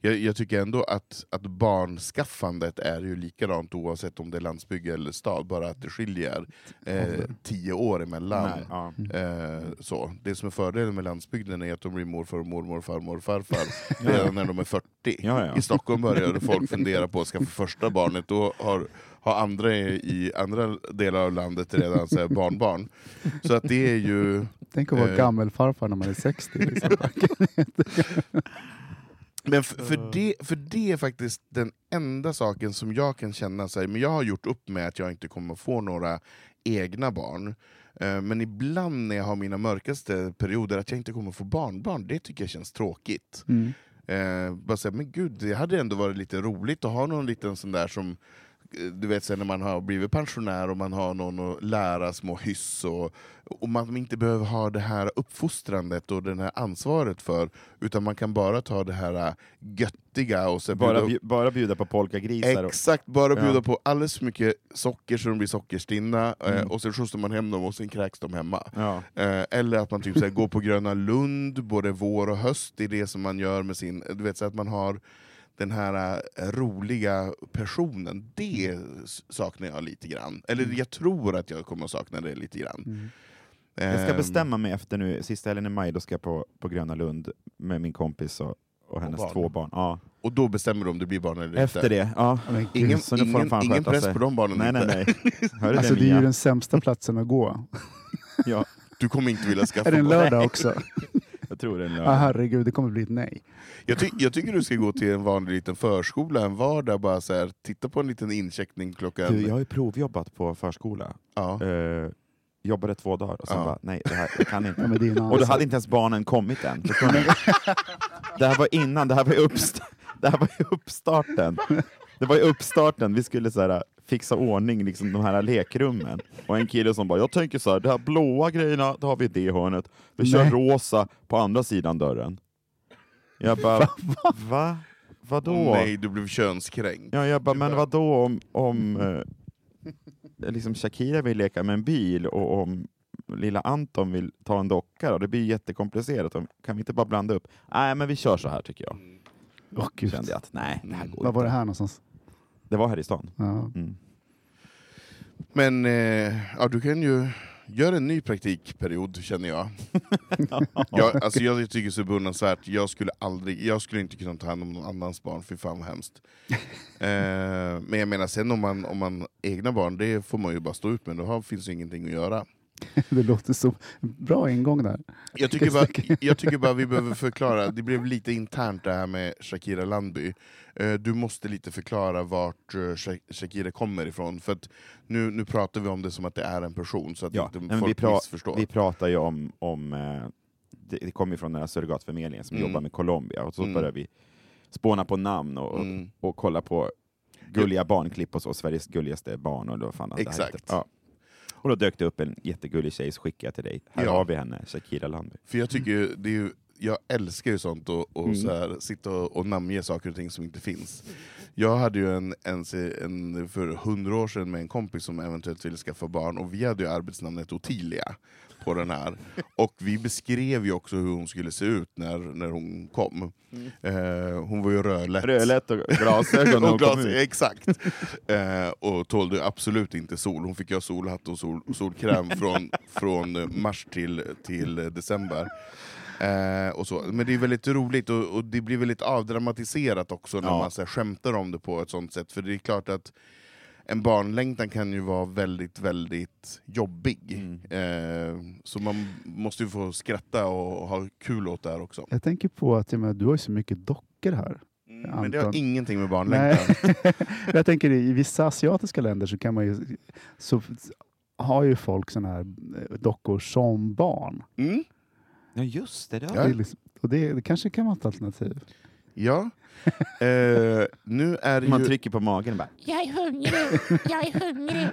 Speaker 1: Jag, jag tycker ändå att, att barnskaffandet är ju likadant oavsett om det är landsbygd eller stad, bara att det skiljer eh, tio år emellan.
Speaker 3: Nej, ja.
Speaker 1: Eh, så. Det som är fördelen med landsbygden är att de blir morfar, och mormor, farmor och farfar redan när de är 40.
Speaker 3: Ja, ja.
Speaker 1: I Stockholm började folk fundera på att skaffa första barnet, då har, har andra i andra delar av landet redan så här, barnbarn. Så att det är ju...
Speaker 2: Tänk att vara
Speaker 1: Eh.
Speaker 2: gammelfarfar när man är 60. Liksom.
Speaker 1: Men f- för, det, för det är faktiskt den enda saken som jag kan känna, så här, men jag har gjort upp med att jag inte kommer få några egna barn. Eh, Men ibland när jag har mina mörkaste perioder, att jag inte kommer få barnbarn, det tycker jag känns tråkigt.
Speaker 2: Mm.
Speaker 1: Eh, bara så här, men gud, det hade ändå varit lite roligt att ha någon liten sån där som eh, du vet sen när man har blivit pensionär och man har någon att lära små hyss och, och man inte behöver ha det här uppfostrandet och det här ansvaret för utan man kan bara ta det här eh, göttiga och så
Speaker 3: Bara,
Speaker 1: bjuda-
Speaker 3: bju- bara bjuda på polkagrisar. och-
Speaker 1: Exakt, bara bjuda
Speaker 3: Ja.
Speaker 1: på alldeles för mycket socker så de blir sockerstinna eh, och sen skjutsar man hem dem och sen kräks de hemma.
Speaker 3: Mm. Ja.
Speaker 1: Eh, eller att man typ såhär, går på Gröna Lund både vår och höst, det är det som man gör med sin... Du vet, så att man har den här eh, roliga personen, det s- saknar jag lite grann. Eller
Speaker 3: Mm.
Speaker 1: jag tror att jag kommer att sakna det lite grann.
Speaker 2: Mm.
Speaker 3: Jag ska
Speaker 1: Ehm,
Speaker 3: bestämma mig efter nu, sista helgen i maj, då ska jag på, på Gröna Lund med min kompis och, och hennes
Speaker 1: barn.
Speaker 3: två barn. Ja.
Speaker 1: Och då bestämmer du om det blir barn eller
Speaker 3: Efter
Speaker 1: inte.
Speaker 3: det, ja.
Speaker 2: Men
Speaker 1: Ingen,
Speaker 3: Så nu får de
Speaker 1: ingen,
Speaker 3: fan
Speaker 1: ingen
Speaker 3: sköta
Speaker 1: press
Speaker 3: sig.
Speaker 1: på de barnen.
Speaker 3: Nej, nej,
Speaker 1: inte.
Speaker 3: nej. Hör du
Speaker 2: Alltså,
Speaker 3: det,
Speaker 2: det är
Speaker 3: Mia?
Speaker 2: ju den sämsta platsen att gå.
Speaker 3: Ja,
Speaker 1: Du kommer inte vilja skaffa
Speaker 2: Är det en
Speaker 1: barn.
Speaker 2: lördag också?
Speaker 3: jag tror det är en
Speaker 2: Ja,
Speaker 3: lördag.
Speaker 2: herregud, det kommer bli ett nej.
Speaker 1: Jag, ty- jag tycker du ska gå till en vanlig liten förskola en vardag, bara så här, titta på en liten incheckning klockan...
Speaker 3: Du, jag har ju provjobbat på förskola.
Speaker 1: ja.
Speaker 3: Eh, jobbade två dagar och sen
Speaker 1: Ja.
Speaker 3: bara, nej, det här jag kan
Speaker 2: Ja,
Speaker 3: inte.
Speaker 2: men det är en
Speaker 3: Och då
Speaker 2: annan
Speaker 3: hade inte ens barnen kommit än. Förstår ni? Det här var innan, det här var ju uppst- det här var ju uppstarten. Det var ju uppstarten, vi skulle så här, äh, fixa ordning liksom, de här lekrummen. Och en kille som bara, jag tänker så här, de här blåa grejerna, då har vi i det hörnet. Vi kör
Speaker 2: Nej.
Speaker 3: rosa på andra sidan dörren. Jag bara, va? va? Vadå?
Speaker 1: Åh nej, du blev könskränkt.
Speaker 3: Ja, jag bara, men vad då om, om eh, liksom Shakira vill leka med en bil och om lilla Anton vill ta en docka då? Det blir ju jättekomplicerat. Kan vi inte bara blanda upp? Nej, men vi kör så här tycker jag.
Speaker 2: Mm. Åh, gud. Mm.
Speaker 3: Kände jag att nej, det här går
Speaker 2: Vad var det
Speaker 3: inte.
Speaker 2: här någonstans?
Speaker 3: Det var här i stan.
Speaker 2: Ja.
Speaker 3: Mm.
Speaker 1: Men eh, ja, du kan ju Gör en ny praktikperiod, känner jag. jag, alltså, jag tycker det är så beundransvärt. Jag skulle aldrig, jag skulle inte kunna ta hand om någon annans barn, för fan vad hemskt. eh, men jag menar, sen om man, om man egna barn, det får man ju bara stå ut med. Då har, finns ju ingenting att göra.
Speaker 2: Det låter så bra ingång där.
Speaker 1: Jag tycker, bara, jag tycker bara vi behöver förklara, det blev lite internt det här med Shakira Landby. Eh, Du måste lite förklara vart eh, Sha- Shakira kommer ifrån, för att nu, nu pratar vi om det som att det är en person, så att
Speaker 3: Ja,
Speaker 1: inte
Speaker 3: men
Speaker 1: folk
Speaker 3: vi pra-
Speaker 1: missförstår.
Speaker 3: Vi pratar ju om, om eh, det, det kommer ju från den här surrogatförmedlingen som
Speaker 1: Mm.
Speaker 3: jobbar med Colombia, och så
Speaker 1: Mm.
Speaker 3: börjar vi spåna på namn och,
Speaker 1: Mm.
Speaker 3: och, och kolla på gulliga barnklipp och så, Sveriges gulligaste barn och då fan allt det här
Speaker 1: Exakt.
Speaker 3: heter. Ja. Och då dök det upp en jättegullig tjej, så skickade jag till dig. Här
Speaker 1: Ja.
Speaker 3: har vi henne, Shakira Landby.
Speaker 1: För jag tycker ju- det är ju, jag älskar ju sånt, och, och så här, sitta och, och namnge saker och ting som inte finns. Jag hade ju en, en, en för hundra år sedan med en kompis som eventuellt ville skaffa barn, och vi hade ju arbetsnamnet Ottilia på den här. Och vi beskrev ju också hur hon skulle se ut när, när hon kom. Eh, hon var ju rödlätt.
Speaker 3: Rödlätt och glasögon
Speaker 1: och glas, exakt. Eh, och tålde ju absolut inte sol. Hon fick ju ha solhatt och sol, solkräm från, från eh, mars till, till eh, december. Eh, och så. Men det är väldigt roligt och, och det blir väldigt avdramatiserat också när
Speaker 3: Ja.
Speaker 1: man så här, skämtar om det på ett sånt sätt. För det är klart att en barnlängtan kan ju vara väldigt, väldigt jobbig. Eh, så man måste ju få skratta och ha kul åt det här också.
Speaker 2: Jag tänker på att jag menar, du har ju så mycket dockor här.
Speaker 1: Men det har
Speaker 2: Anton.
Speaker 1: ingenting med barnlängtan
Speaker 2: Nej. jag tänker i vissa asiatiska länder så kan man ju så f- har ju folk såna här eh, dockor som barn.
Speaker 1: Mm.
Speaker 3: Ja just det, det har
Speaker 1: Ja.
Speaker 2: Det, är liksom, och det, det kanske kan vara ett alternativ.
Speaker 1: Ja. Eh, nu är det
Speaker 3: vi. Man
Speaker 1: ju...
Speaker 3: trycker på magen och bara
Speaker 6: Jag är hungrig, jag är hungrig.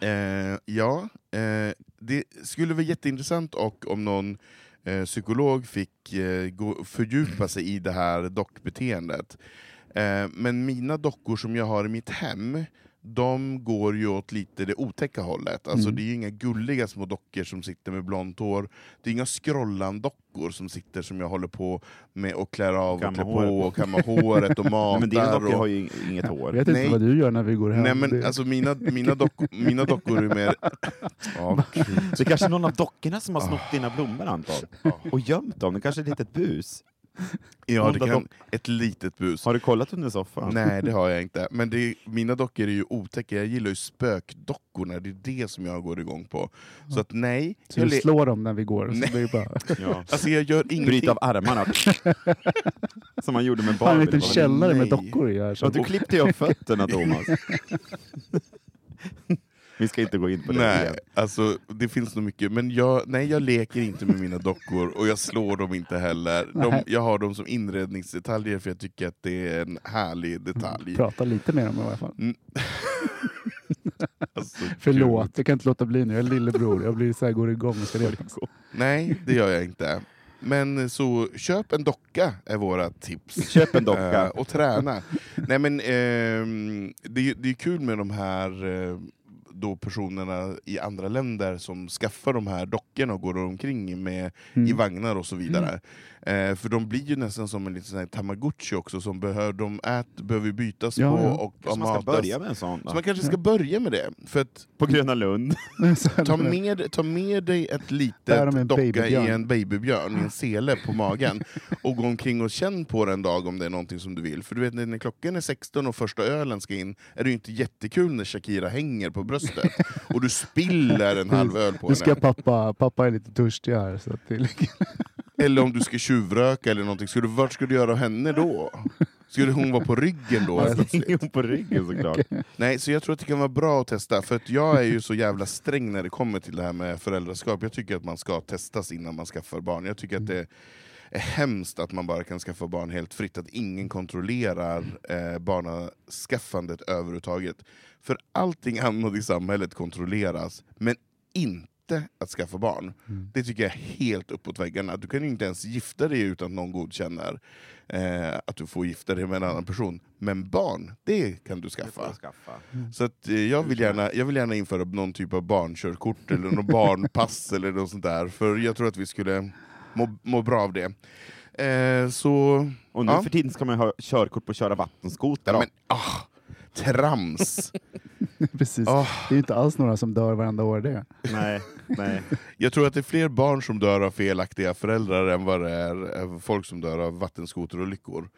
Speaker 1: Eh, ja, eh, det skulle vara jätteintressant och om någon eh, psykolog fick eh, gå, fördjupa sig i det här dockbeteendet. Eh, men mina dockor som jag har i mitt hem, de går ju åt lite det otäcka hållet.
Speaker 3: Mm.
Speaker 1: Alltså, Det är ju inga gulliga små dockor som sitter med blont hår. Det är inga skrollandockor som sitter som jag håller på med och klär av
Speaker 3: Kamma
Speaker 1: och klär på
Speaker 3: håret.
Speaker 1: och kammar håret och matar.
Speaker 3: Nej, men dina dockor
Speaker 1: och...
Speaker 3: har ju inget
Speaker 2: Jag
Speaker 3: hår.
Speaker 2: vet inte
Speaker 1: Nej.
Speaker 2: vad du gör när vi går hem.
Speaker 1: Nej men
Speaker 2: Det-
Speaker 1: alltså mina, mina, dockor, mina dockor är mer... Ja,
Speaker 3: Det är kanske någon av dockorna som har snott dina blommor Anton, och gömt dem. Det kanske är ett litet bus.
Speaker 1: ja det
Speaker 3: Onda
Speaker 1: kan,
Speaker 3: dock-
Speaker 1: ett litet bus.
Speaker 3: Har du kollat under soffan?
Speaker 1: Nej det har jag inte. Men det, mina dockor är ju otäcka, jag gillar ju spökdockorna, det är det som jag går igång på. Så att nej,
Speaker 2: så
Speaker 1: jag,
Speaker 2: du
Speaker 1: le-
Speaker 2: slår dem när vi går. Så det är bara,
Speaker 3: Ja.
Speaker 1: alltså, jag gör ingenting.
Speaker 3: Bryta av armarna. som man gjorde med
Speaker 2: har en
Speaker 3: Barbie.
Speaker 2: liten
Speaker 3: Det var-
Speaker 2: källare med
Speaker 1: nej.
Speaker 2: dockor i. Här,
Speaker 3: Ja,
Speaker 2: som,
Speaker 3: du klippte ju av fötterna Thomas. Vi ska inte gå in på det
Speaker 1: Nej,
Speaker 3: igen.
Speaker 1: alltså det finns nog mycket, men jag, nej, jag leker inte med mina dockor och jag slår dem inte heller. De,
Speaker 2: Nej.
Speaker 1: jag har dem som inredningsdetaljer för jag tycker att det är en härlig detalj.
Speaker 2: Prata lite med dem i alla fall.
Speaker 1: Alltså,
Speaker 2: Förlåt, jag kan inte låta bli nu. Jag är lillebror. Jag blir så här, går igång och ska retas.
Speaker 1: Nej, det gör jag inte. Men så köp en docka är våra tips.
Speaker 3: Köp en
Speaker 1: Eh,
Speaker 3: docka.
Speaker 1: och träna. Nej, men, ehm, det, är ju- det är kul med de här eh, då personerna i andra länder som skaffar de här dockorna och går omkring med,
Speaker 3: Mm.
Speaker 1: i vagnar och så vidare. Eh, för de blir ju nästan som en liten sån här tamagotchi också, som behöver, de ät, behöver bytas
Speaker 2: Ja,
Speaker 1: på
Speaker 2: ja.
Speaker 1: och
Speaker 3: Kanske man ska
Speaker 1: matas.
Speaker 3: börja med en sån.
Speaker 1: Så
Speaker 3: Då.
Speaker 1: man kanske ska börja med det. För att
Speaker 3: På Gröna Lund.
Speaker 1: Ta med, ta med dig ett
Speaker 2: Bär om
Speaker 1: litet
Speaker 2: en
Speaker 1: docka
Speaker 2: babybjörn.
Speaker 1: i en babybjörn, i en sele på magen, och gå omkring och känn på den en dag om det är någonting som du vill. För du vet, när klockan är 16 och första ölen ska in, är det ju inte jättekul när Shakira hänger på bröstet, och du spiller en halv öl på
Speaker 2: Nu ska
Speaker 1: henne.
Speaker 2: pappa, pappa är lite törstig här. Så att det är lika-
Speaker 1: Eller om du ska tjuvröka eller någonting, skulle, du- vart skulle du göra av henne då? Skulle hon vara på ryggen då?
Speaker 2: Alltså,
Speaker 1: plötsligt?
Speaker 3: Ingen på ryggen såklart.
Speaker 1: Nej, så jag tror att det kan vara bra att testa, för att jag är ju så jävla sträng när det kommer till det här med föräldraskap. Jag tycker att man ska testas innan man skaffar barn. Jag tycker att det är hemskt att man bara kan skaffa barn helt fritt, att ingen kontrollerar eh, barnaskaffandet överhuvudtaget. För allting annat i samhället kontrolleras, men inte att skaffa barn. Det tycker jag är helt uppåt väggarna. Du kan ju inte ens gifta dig utan att någon godkänner eh, att du får gifta dig med en annan person. Men barn, det kan du skaffa. Så att, eh, jag, vill gärna, jag vill gärna införa någon typ av barnkörkort eller någon barnpass eller något sånt där, för jag tror att vi skulle må, må bra av det. Eh, så...
Speaker 3: Och nu
Speaker 1: ja.
Speaker 3: för tiden ska man ju ha körkort på att köra vattenskoter.
Speaker 1: Ja,
Speaker 3: då.
Speaker 1: men, ah, trams.
Speaker 2: Precis.
Speaker 1: Åh.
Speaker 2: Det är ju inte alls några som dör varenda år det.
Speaker 3: Nej, nej.
Speaker 1: Jag tror att det är fler barn som dör av felaktiga föräldrar än vad det är eh, folk som dör av vattenskoterolyckor.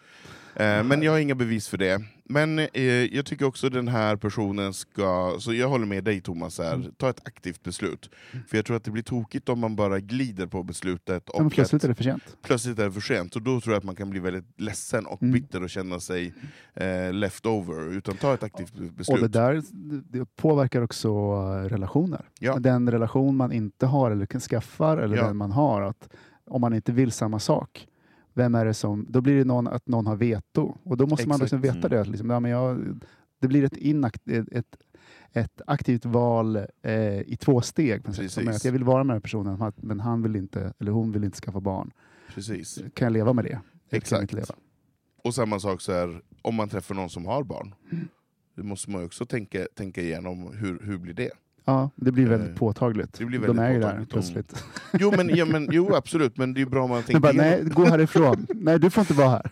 Speaker 1: Eh, men jag har inga bevis för det. Men eh, jag tycker också den här personen ska, så jag håller med dig Thomas,
Speaker 2: Mm.
Speaker 1: här. ta ett aktivt beslut. För jag tror att det blir tokigt om man bara glider på beslutet och
Speaker 2: Men plötsligt
Speaker 1: att-
Speaker 2: är det för sent.
Speaker 1: plötsligt är det för sent. Och då tror jag att man kan bli väldigt ledsen och
Speaker 2: Mm.
Speaker 1: bitter och känna sig eh, left over. Utan ta ett aktivt
Speaker 2: Och
Speaker 1: beslut.
Speaker 2: det där det påverkar också eh, relationer.
Speaker 1: Ja.
Speaker 2: Den relation man inte har eller kan skaffar eller
Speaker 1: Ja.
Speaker 2: den man har. Att om man inte vill samma sak, vem är det som... Då blir det någon, att någon har veto. Och då måste man
Speaker 1: Exakt. Mm.
Speaker 2: liksom veta det. Att liksom, ja, men jag, det blir ett, inakt, ett, ett aktivt val eh, i två steg. På något sätt. Som är
Speaker 1: Precis.
Speaker 2: att jag vill vara med den här personen, men han vill inte, eller hon vill inte skaffa barn.
Speaker 1: Precis.
Speaker 2: Kan jag leva med det? Eller Kan jag
Speaker 1: Exakt.
Speaker 2: inte leva?
Speaker 1: Och samma sak så här, om man träffar någon som har barn.
Speaker 2: Mm.
Speaker 1: Då måste man ju också tänka, tänka igenom hur, hur blir det?
Speaker 2: Ja, det blir
Speaker 1: Eh,
Speaker 2: väldigt påtagligt.
Speaker 1: det blir väldigt
Speaker 2: De är ju där
Speaker 1: påtagligt om-
Speaker 2: plötsligt.
Speaker 1: Jo, men, ja, men, jo absolut, men det är ju bra om man
Speaker 2: Men
Speaker 1: tänker
Speaker 2: bara,
Speaker 1: igenom.
Speaker 2: nej, gå härifrån. nej, du får inte vara här.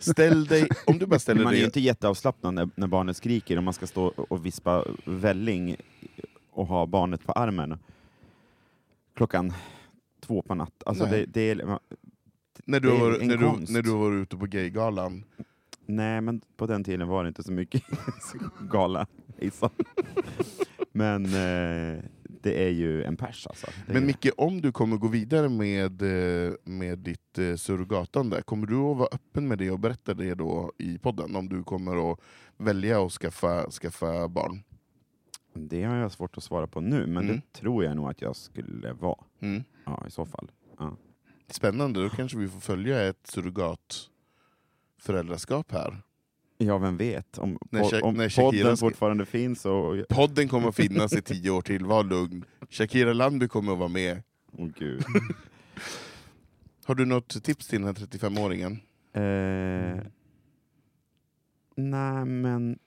Speaker 1: Ställ dig, om du bara ställer
Speaker 3: Man är ju
Speaker 1: dig...
Speaker 3: inte jätteavslappnad när, när barnet skriker och man ska stå och vispa välling och ha barnet på armen klockan två på natt. Alltså
Speaker 1: Nej.
Speaker 3: det, det är,
Speaker 1: När du,
Speaker 3: det är
Speaker 1: var,
Speaker 3: en
Speaker 1: när, du,
Speaker 3: konst.
Speaker 1: när du var ute på gaygalan.
Speaker 3: nej, men på den tiden var det inte så mycket gala. hejsan. men eh, det är ju en pers alltså. Det är-
Speaker 1: Men Micke, om du kommer gå vidare med, eh, med ditt eh, surrogatande, kommer du att vara öppen med det och berätta det då i podden? Om du kommer att välja att skaffa, skaffa barn?
Speaker 3: Det har jag svårt att svara på nu, men
Speaker 1: Mm.
Speaker 3: det tror jag nog att jag skulle vara.
Speaker 1: Mm.
Speaker 3: Ja, i så fall.
Speaker 1: Spännande, då kanske vi får följa ett surrogatföräldraskap här.
Speaker 3: Ja, vem vet? Om,
Speaker 1: När
Speaker 3: po-
Speaker 1: Sha-
Speaker 3: om
Speaker 1: när Shakira
Speaker 3: podden
Speaker 1: ska-
Speaker 3: fortfarande finns och... Åh
Speaker 1: Podden kommer att finnas i tio år till, var lugn. Shakira Landby kommer att vara med.
Speaker 3: gud.
Speaker 1: Har du något tips till den här 35-åringen?
Speaker 3: Eh, nej, men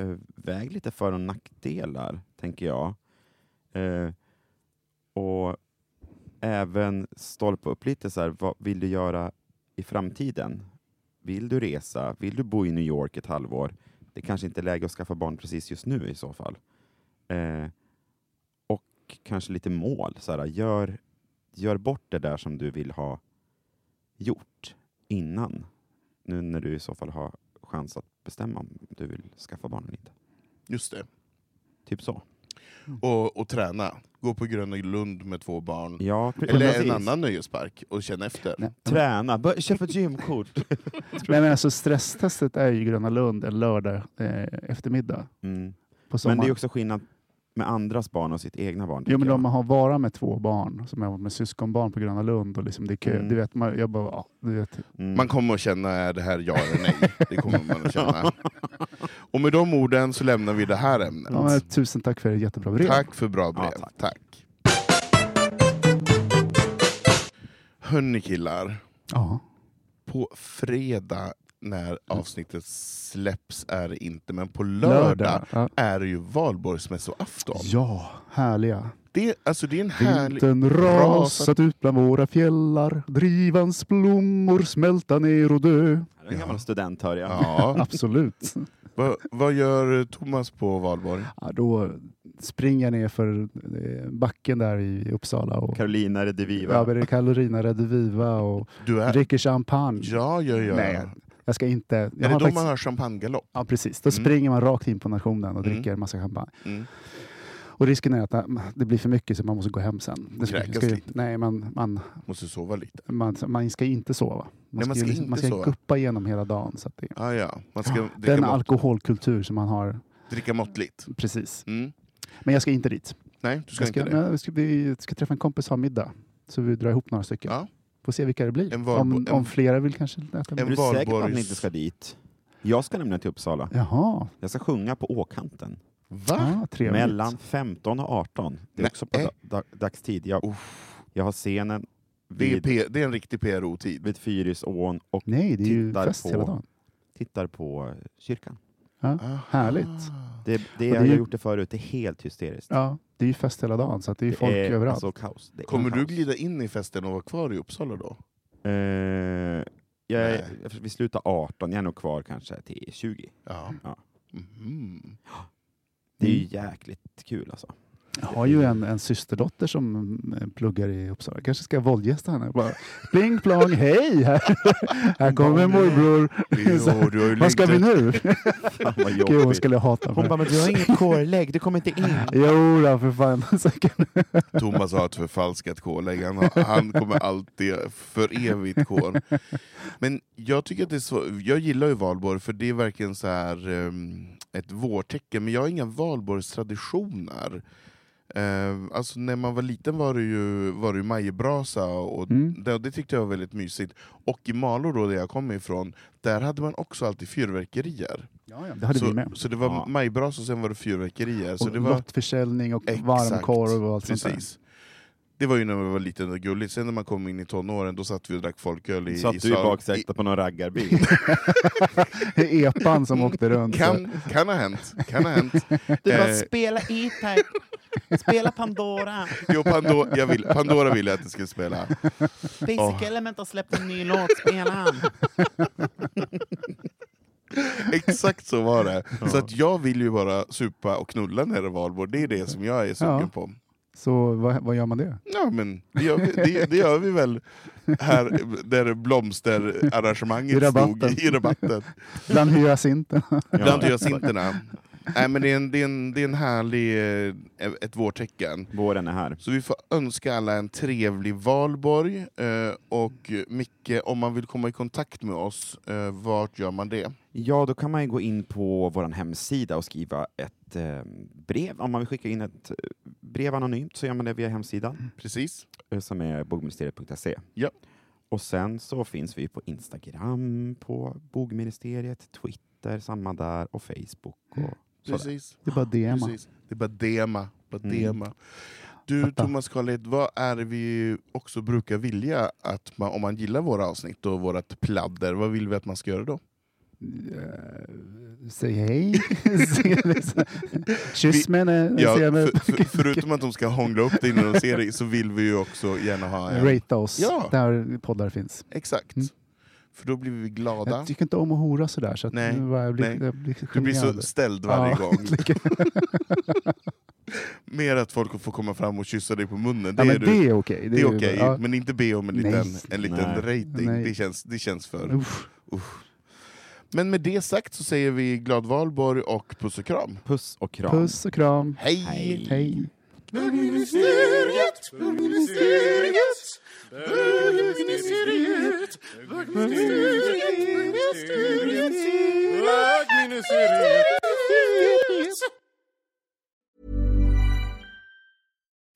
Speaker 3: eh, väg lite för och nackdelar, tänker jag. Eh, och även stolpa upp lite, så här, vad vill du göra i framtiden? Vill du resa? Vill du bo i New York ett halvår? Det kanske inte är läge att skaffa barn precis just nu i så fall. Eh, och kanske lite mål. Så här, gör, gör bort det där som du vill ha gjort innan. Nu när du i så fall har chans att bestämma om du vill skaffa barn eller inte.
Speaker 1: Just det.
Speaker 3: Typ så.
Speaker 1: Och, och träna. Gå på Gröna Lund med två barn.
Speaker 3: Ja, pre-
Speaker 1: Eller
Speaker 3: precis.
Speaker 1: en annan nöjespark och känna efter.
Speaker 2: Nej.
Speaker 3: Träna, Bör- köp ett gymkort.
Speaker 2: nej, men alltså, stresstestet är ju i Gröna Lund en lördag eh, eftermiddag
Speaker 3: Mm.
Speaker 2: på sommaren.
Speaker 3: Men det är också skillnad med andras barn och sitt egna barn.
Speaker 2: Jo,
Speaker 3: tycker
Speaker 2: men
Speaker 3: jag.
Speaker 2: om man har vara med två barn, som jag var med syskonbarn på Gröna Lund, och liksom det är kö.
Speaker 3: Mm.
Speaker 2: Du vet, man, jag bara, ja, du vet.
Speaker 3: Mm.
Speaker 1: Man kommer att känna, är det här ja eller nej? Det kommer man att känna. Och med de orden så lämnar vi det här ämnet.
Speaker 2: Ja, men, tusen Mm. tack för ett jättebra brev.
Speaker 1: Tack för bra brev.
Speaker 3: Ja,
Speaker 1: tack.
Speaker 3: tack.
Speaker 1: Hörni killar,
Speaker 2: Ja.
Speaker 1: på fredag när avsnittet släpps är det inte, men på lördag,
Speaker 2: Lördag. Ja.
Speaker 1: är det ju valborgsmässoafton.
Speaker 2: ja, härliga.
Speaker 1: Det, alltså, det är en härlig...
Speaker 2: Vintern
Speaker 1: rasat-
Speaker 2: rasat ut bland våra fjällar, drivans blommor smälta ner och dö.
Speaker 3: Det är en gammal student hör jag.
Speaker 1: Ja.
Speaker 2: Absolut.
Speaker 1: Vad, vad gör Thomas på valborg?
Speaker 2: Ja, då springer jag ner för eh, backen där i Uppsala och
Speaker 3: Carolina Rediviva.
Speaker 2: över i Kalorina Rediviva och
Speaker 1: Du är...
Speaker 2: dricker champagne.
Speaker 1: Ja, ja, ja.
Speaker 2: Nej, jag ska inte... Jag
Speaker 1: Är det
Speaker 2: har
Speaker 1: då
Speaker 2: faktiskt,
Speaker 1: man hör champagnegalopp?
Speaker 2: Ja, precis. Då
Speaker 1: Mm.
Speaker 2: springer man rakt in på nationen och
Speaker 1: Mm.
Speaker 2: dricker en massa champagne.
Speaker 1: Mm.
Speaker 2: Och risken är att äh, det blir för mycket så man måste gå hem sen. Det
Speaker 1: Kräkas
Speaker 2: ju-
Speaker 1: lite.
Speaker 2: nej, man, man,
Speaker 1: Måste sova lite.
Speaker 2: man, man ska inte sova.
Speaker 1: Nej, man
Speaker 2: ju
Speaker 1: ska
Speaker 2: liksom-
Speaker 1: inte
Speaker 2: man ska
Speaker 1: sova.
Speaker 2: guppa igenom hela dagen. Så att det,
Speaker 1: Ah, ja. Man ska dricka,
Speaker 2: den
Speaker 1: mått,
Speaker 2: alkoholkultur som man har,
Speaker 1: dricka måttligt.
Speaker 2: precis.
Speaker 1: Mm.
Speaker 2: Men jag ska inte dit.
Speaker 1: Nej, du ska,
Speaker 2: jag ska,
Speaker 1: inte det.
Speaker 2: jag ska, vi ska träffa en kompis och ha middag. Så vi drar ihop några stycken.
Speaker 1: Ja.
Speaker 2: Får se vilka det blir.
Speaker 1: En valbo-
Speaker 2: om,
Speaker 1: en-
Speaker 2: om flera vill kanske äta
Speaker 3: är
Speaker 1: En
Speaker 3: du säker på att
Speaker 1: Valborgs-
Speaker 3: ni inte ska dit? Jag ska nämligen till Uppsala.
Speaker 2: Jaha,
Speaker 3: Jag ska sjunga på Åkanten.
Speaker 1: Va?
Speaker 2: ah, trevligt.
Speaker 3: Mellan 15 och 18. Det är
Speaker 1: Nej.
Speaker 3: också på da- da- dagstid. Jag, jag har scenen
Speaker 1: Det är,
Speaker 3: vid,
Speaker 1: P- det är en riktig PRO-tid.
Speaker 3: vid Fyrisån och
Speaker 2: Nej, det är ju
Speaker 3: Tittar
Speaker 2: fest
Speaker 3: på-
Speaker 2: hela dagen.
Speaker 3: tittar på eh, kyrkan.
Speaker 1: Ah.
Speaker 2: Härligt.
Speaker 3: Det, det,
Speaker 2: det
Speaker 3: jag
Speaker 2: är
Speaker 3: har
Speaker 2: ju-
Speaker 3: gjort det förut, det är helt hysteriskt.
Speaker 2: Ja, det är ju fest hela dagen, så att det är folk överallt.
Speaker 3: Alltså, kaos. Det är
Speaker 1: Kommer du
Speaker 3: kaos.
Speaker 1: glida in i festen och vara kvar i Uppsala då?
Speaker 3: Eh, jag,
Speaker 1: Nej.
Speaker 3: är- vi slutar 18, jag är nog kvar kanske till 20.
Speaker 1: Ja. Mhm.
Speaker 3: Ja. Det är ju
Speaker 2: Mm.
Speaker 3: jäkligt kul alltså.
Speaker 2: Jag har ju en, en systerdotter som mm, pluggar i Uppsala. kanske ska våldgästa henne. Bara, pling plong, hej! Här, här kommer morbror.
Speaker 1: Jo, du har ju
Speaker 2: Vad ska vi
Speaker 1: längtat.
Speaker 2: nu?
Speaker 3: Fan vad
Speaker 2: Gud, hon
Speaker 3: jobbigt.
Speaker 2: skulle hata mig.
Speaker 3: men du har inget kårlägg, du kommer inte in.
Speaker 2: Jo då, för fan. Så kan-
Speaker 1: Thomas har ett förfalskat kårlägg. Han, har, han kommer alltid för evigt kår. Men jag tycker att det är så, jag gillar ju valborg för det är verkligen så här ehm, ett vårtecken. Men jag har inga valborgstraditioner. Eh, alltså när man var liten var det ju, var det ju majbrasa och
Speaker 2: Mm.
Speaker 1: det, det tyckte jag var väldigt mysigt. Och i Malå då, där jag kommer ifrån, där hade man också alltid fyrverkerier.
Speaker 2: Det hade vi
Speaker 1: Så,
Speaker 2: med.
Speaker 1: så det var
Speaker 3: Ja.
Speaker 1: majbrasa och sen var det fyrverkerier. Så
Speaker 2: Och
Speaker 1: det var,
Speaker 2: Lottförsäljning och
Speaker 1: Exakt.
Speaker 2: varmkorv och allt sånt där.
Speaker 1: Precis. Det var ju när man var liten och gulligt, sen när man kom in i tonåren då satt vi och drack folköl i, i
Speaker 3: Satt du i
Speaker 1: sal-
Speaker 3: baksätet på någon raggarbil?
Speaker 2: Epan som åkte runt.
Speaker 1: i- Kan, kan ha hänt. Kan ha hänt.
Speaker 3: Du
Speaker 1: Eh.
Speaker 3: spela E-Type, spela Pandora,
Speaker 1: Jo, Pandora, jag vill, Pandora ville att det skulle spela.
Speaker 3: Basic
Speaker 1: Åh.
Speaker 3: Element har släppt en ny låt, spela han.
Speaker 1: Exakt så var det. Så att jag vill ju bara supa och knulla när det är valborg, det är det som jag är sugen
Speaker 2: Ja.
Speaker 1: på.
Speaker 2: Så vad, vad gör man det?
Speaker 1: Ja, men det gör vi, det, det gör vi väl här där blomsterarrangemanget
Speaker 2: I rabatten.
Speaker 1: stod i rabatten.
Speaker 2: Bland hyacinterna.
Speaker 1: Bland hyacinterna. Nej, men det är en, det är en, det är en härlig, eh, ett vårtecken.
Speaker 3: Våren är här.
Speaker 1: Så vi får önska alla en trevlig valborg. Eh, och Micke, om man vill komma i kontakt med oss, eh, vart gör man det?
Speaker 3: Ja, då kan man ju gå in på vår hemsida och skriva ett eh, brev. Om man vill skicka in ett eh, brev anonymt så gör man det via hemsidan
Speaker 1: Precis.
Speaker 3: eh, som är bogministeriet.se.
Speaker 1: Ja.
Speaker 3: Och sen så finns vi på Instagram, på bogministeriet, Twitter, samma där och Facebook. Och sådär.
Speaker 1: Mm, Precis.
Speaker 2: Det är bara DMa.
Speaker 1: Precis. Det är bara dema. Bara
Speaker 3: Mm.
Speaker 1: dema. Du
Speaker 2: Fatta.
Speaker 1: Thomas Carlid, vad är det vi också brukar vilja att man, om man gillar våra avsnitt och vårat pladder, vad vill vi att man ska göra då?
Speaker 2: Eh, Säg hej. liksom, Kyss mig när jag
Speaker 1: Ja,
Speaker 2: ser mig.
Speaker 1: för, för, förutom att de ska hångla upp det innan de ser dig så vill vi ju också gärna ha en...
Speaker 2: Rata oss
Speaker 1: Ja.
Speaker 2: där poddar finns.
Speaker 1: Exakt.
Speaker 2: Mm.
Speaker 1: För då blir vi glada.
Speaker 2: Jag tycker inte om att hora sådär. Så att
Speaker 1: Nej,
Speaker 2: nu bara jag blir,
Speaker 1: nej.
Speaker 2: Jag blir
Speaker 1: Du blir så
Speaker 2: generad.
Speaker 1: ställd varje
Speaker 2: Ja,
Speaker 1: gång.
Speaker 2: lika-
Speaker 1: Mer att folk får komma fram och kyssa dig på munnen, det
Speaker 2: ja,
Speaker 1: är
Speaker 2: men
Speaker 1: du.
Speaker 2: det är okej.
Speaker 1: Det är
Speaker 2: ju-
Speaker 1: okej,
Speaker 2: ja.
Speaker 1: men inte be om en
Speaker 2: Nej.
Speaker 1: liten, en liten
Speaker 3: Nej.
Speaker 1: rating.
Speaker 2: Nej.
Speaker 1: Det känns, det känns för...
Speaker 2: Uff.
Speaker 1: Men med det sagt så säger vi glad valborg och puss och kram.
Speaker 3: Puss och kram.
Speaker 2: Puss och kram.
Speaker 1: Hej.
Speaker 2: Hej.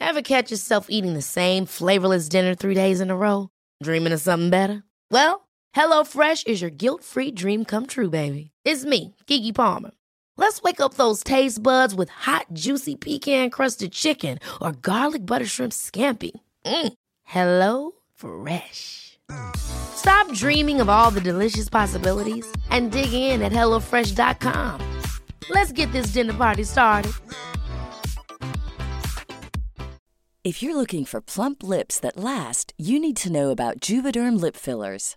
Speaker 6: Ever catch yourself eating the same flavorless dinner three days in a row? Dreaming of something better? Well, HelloFresh is your guilt free dream come true, baby. It's me, Gigi Palmer. Let's wake up those taste buds with hot, juicy pecan crusted chicken or garlic butter shrimp scampi. Mm. Hello Fresh. Stop dreaming of all the delicious possibilities and dig in at HelloFresh.com. Let's get this dinner party started.
Speaker 7: If you're looking for plump lips that last, you need to know about Juvederm lip fillers.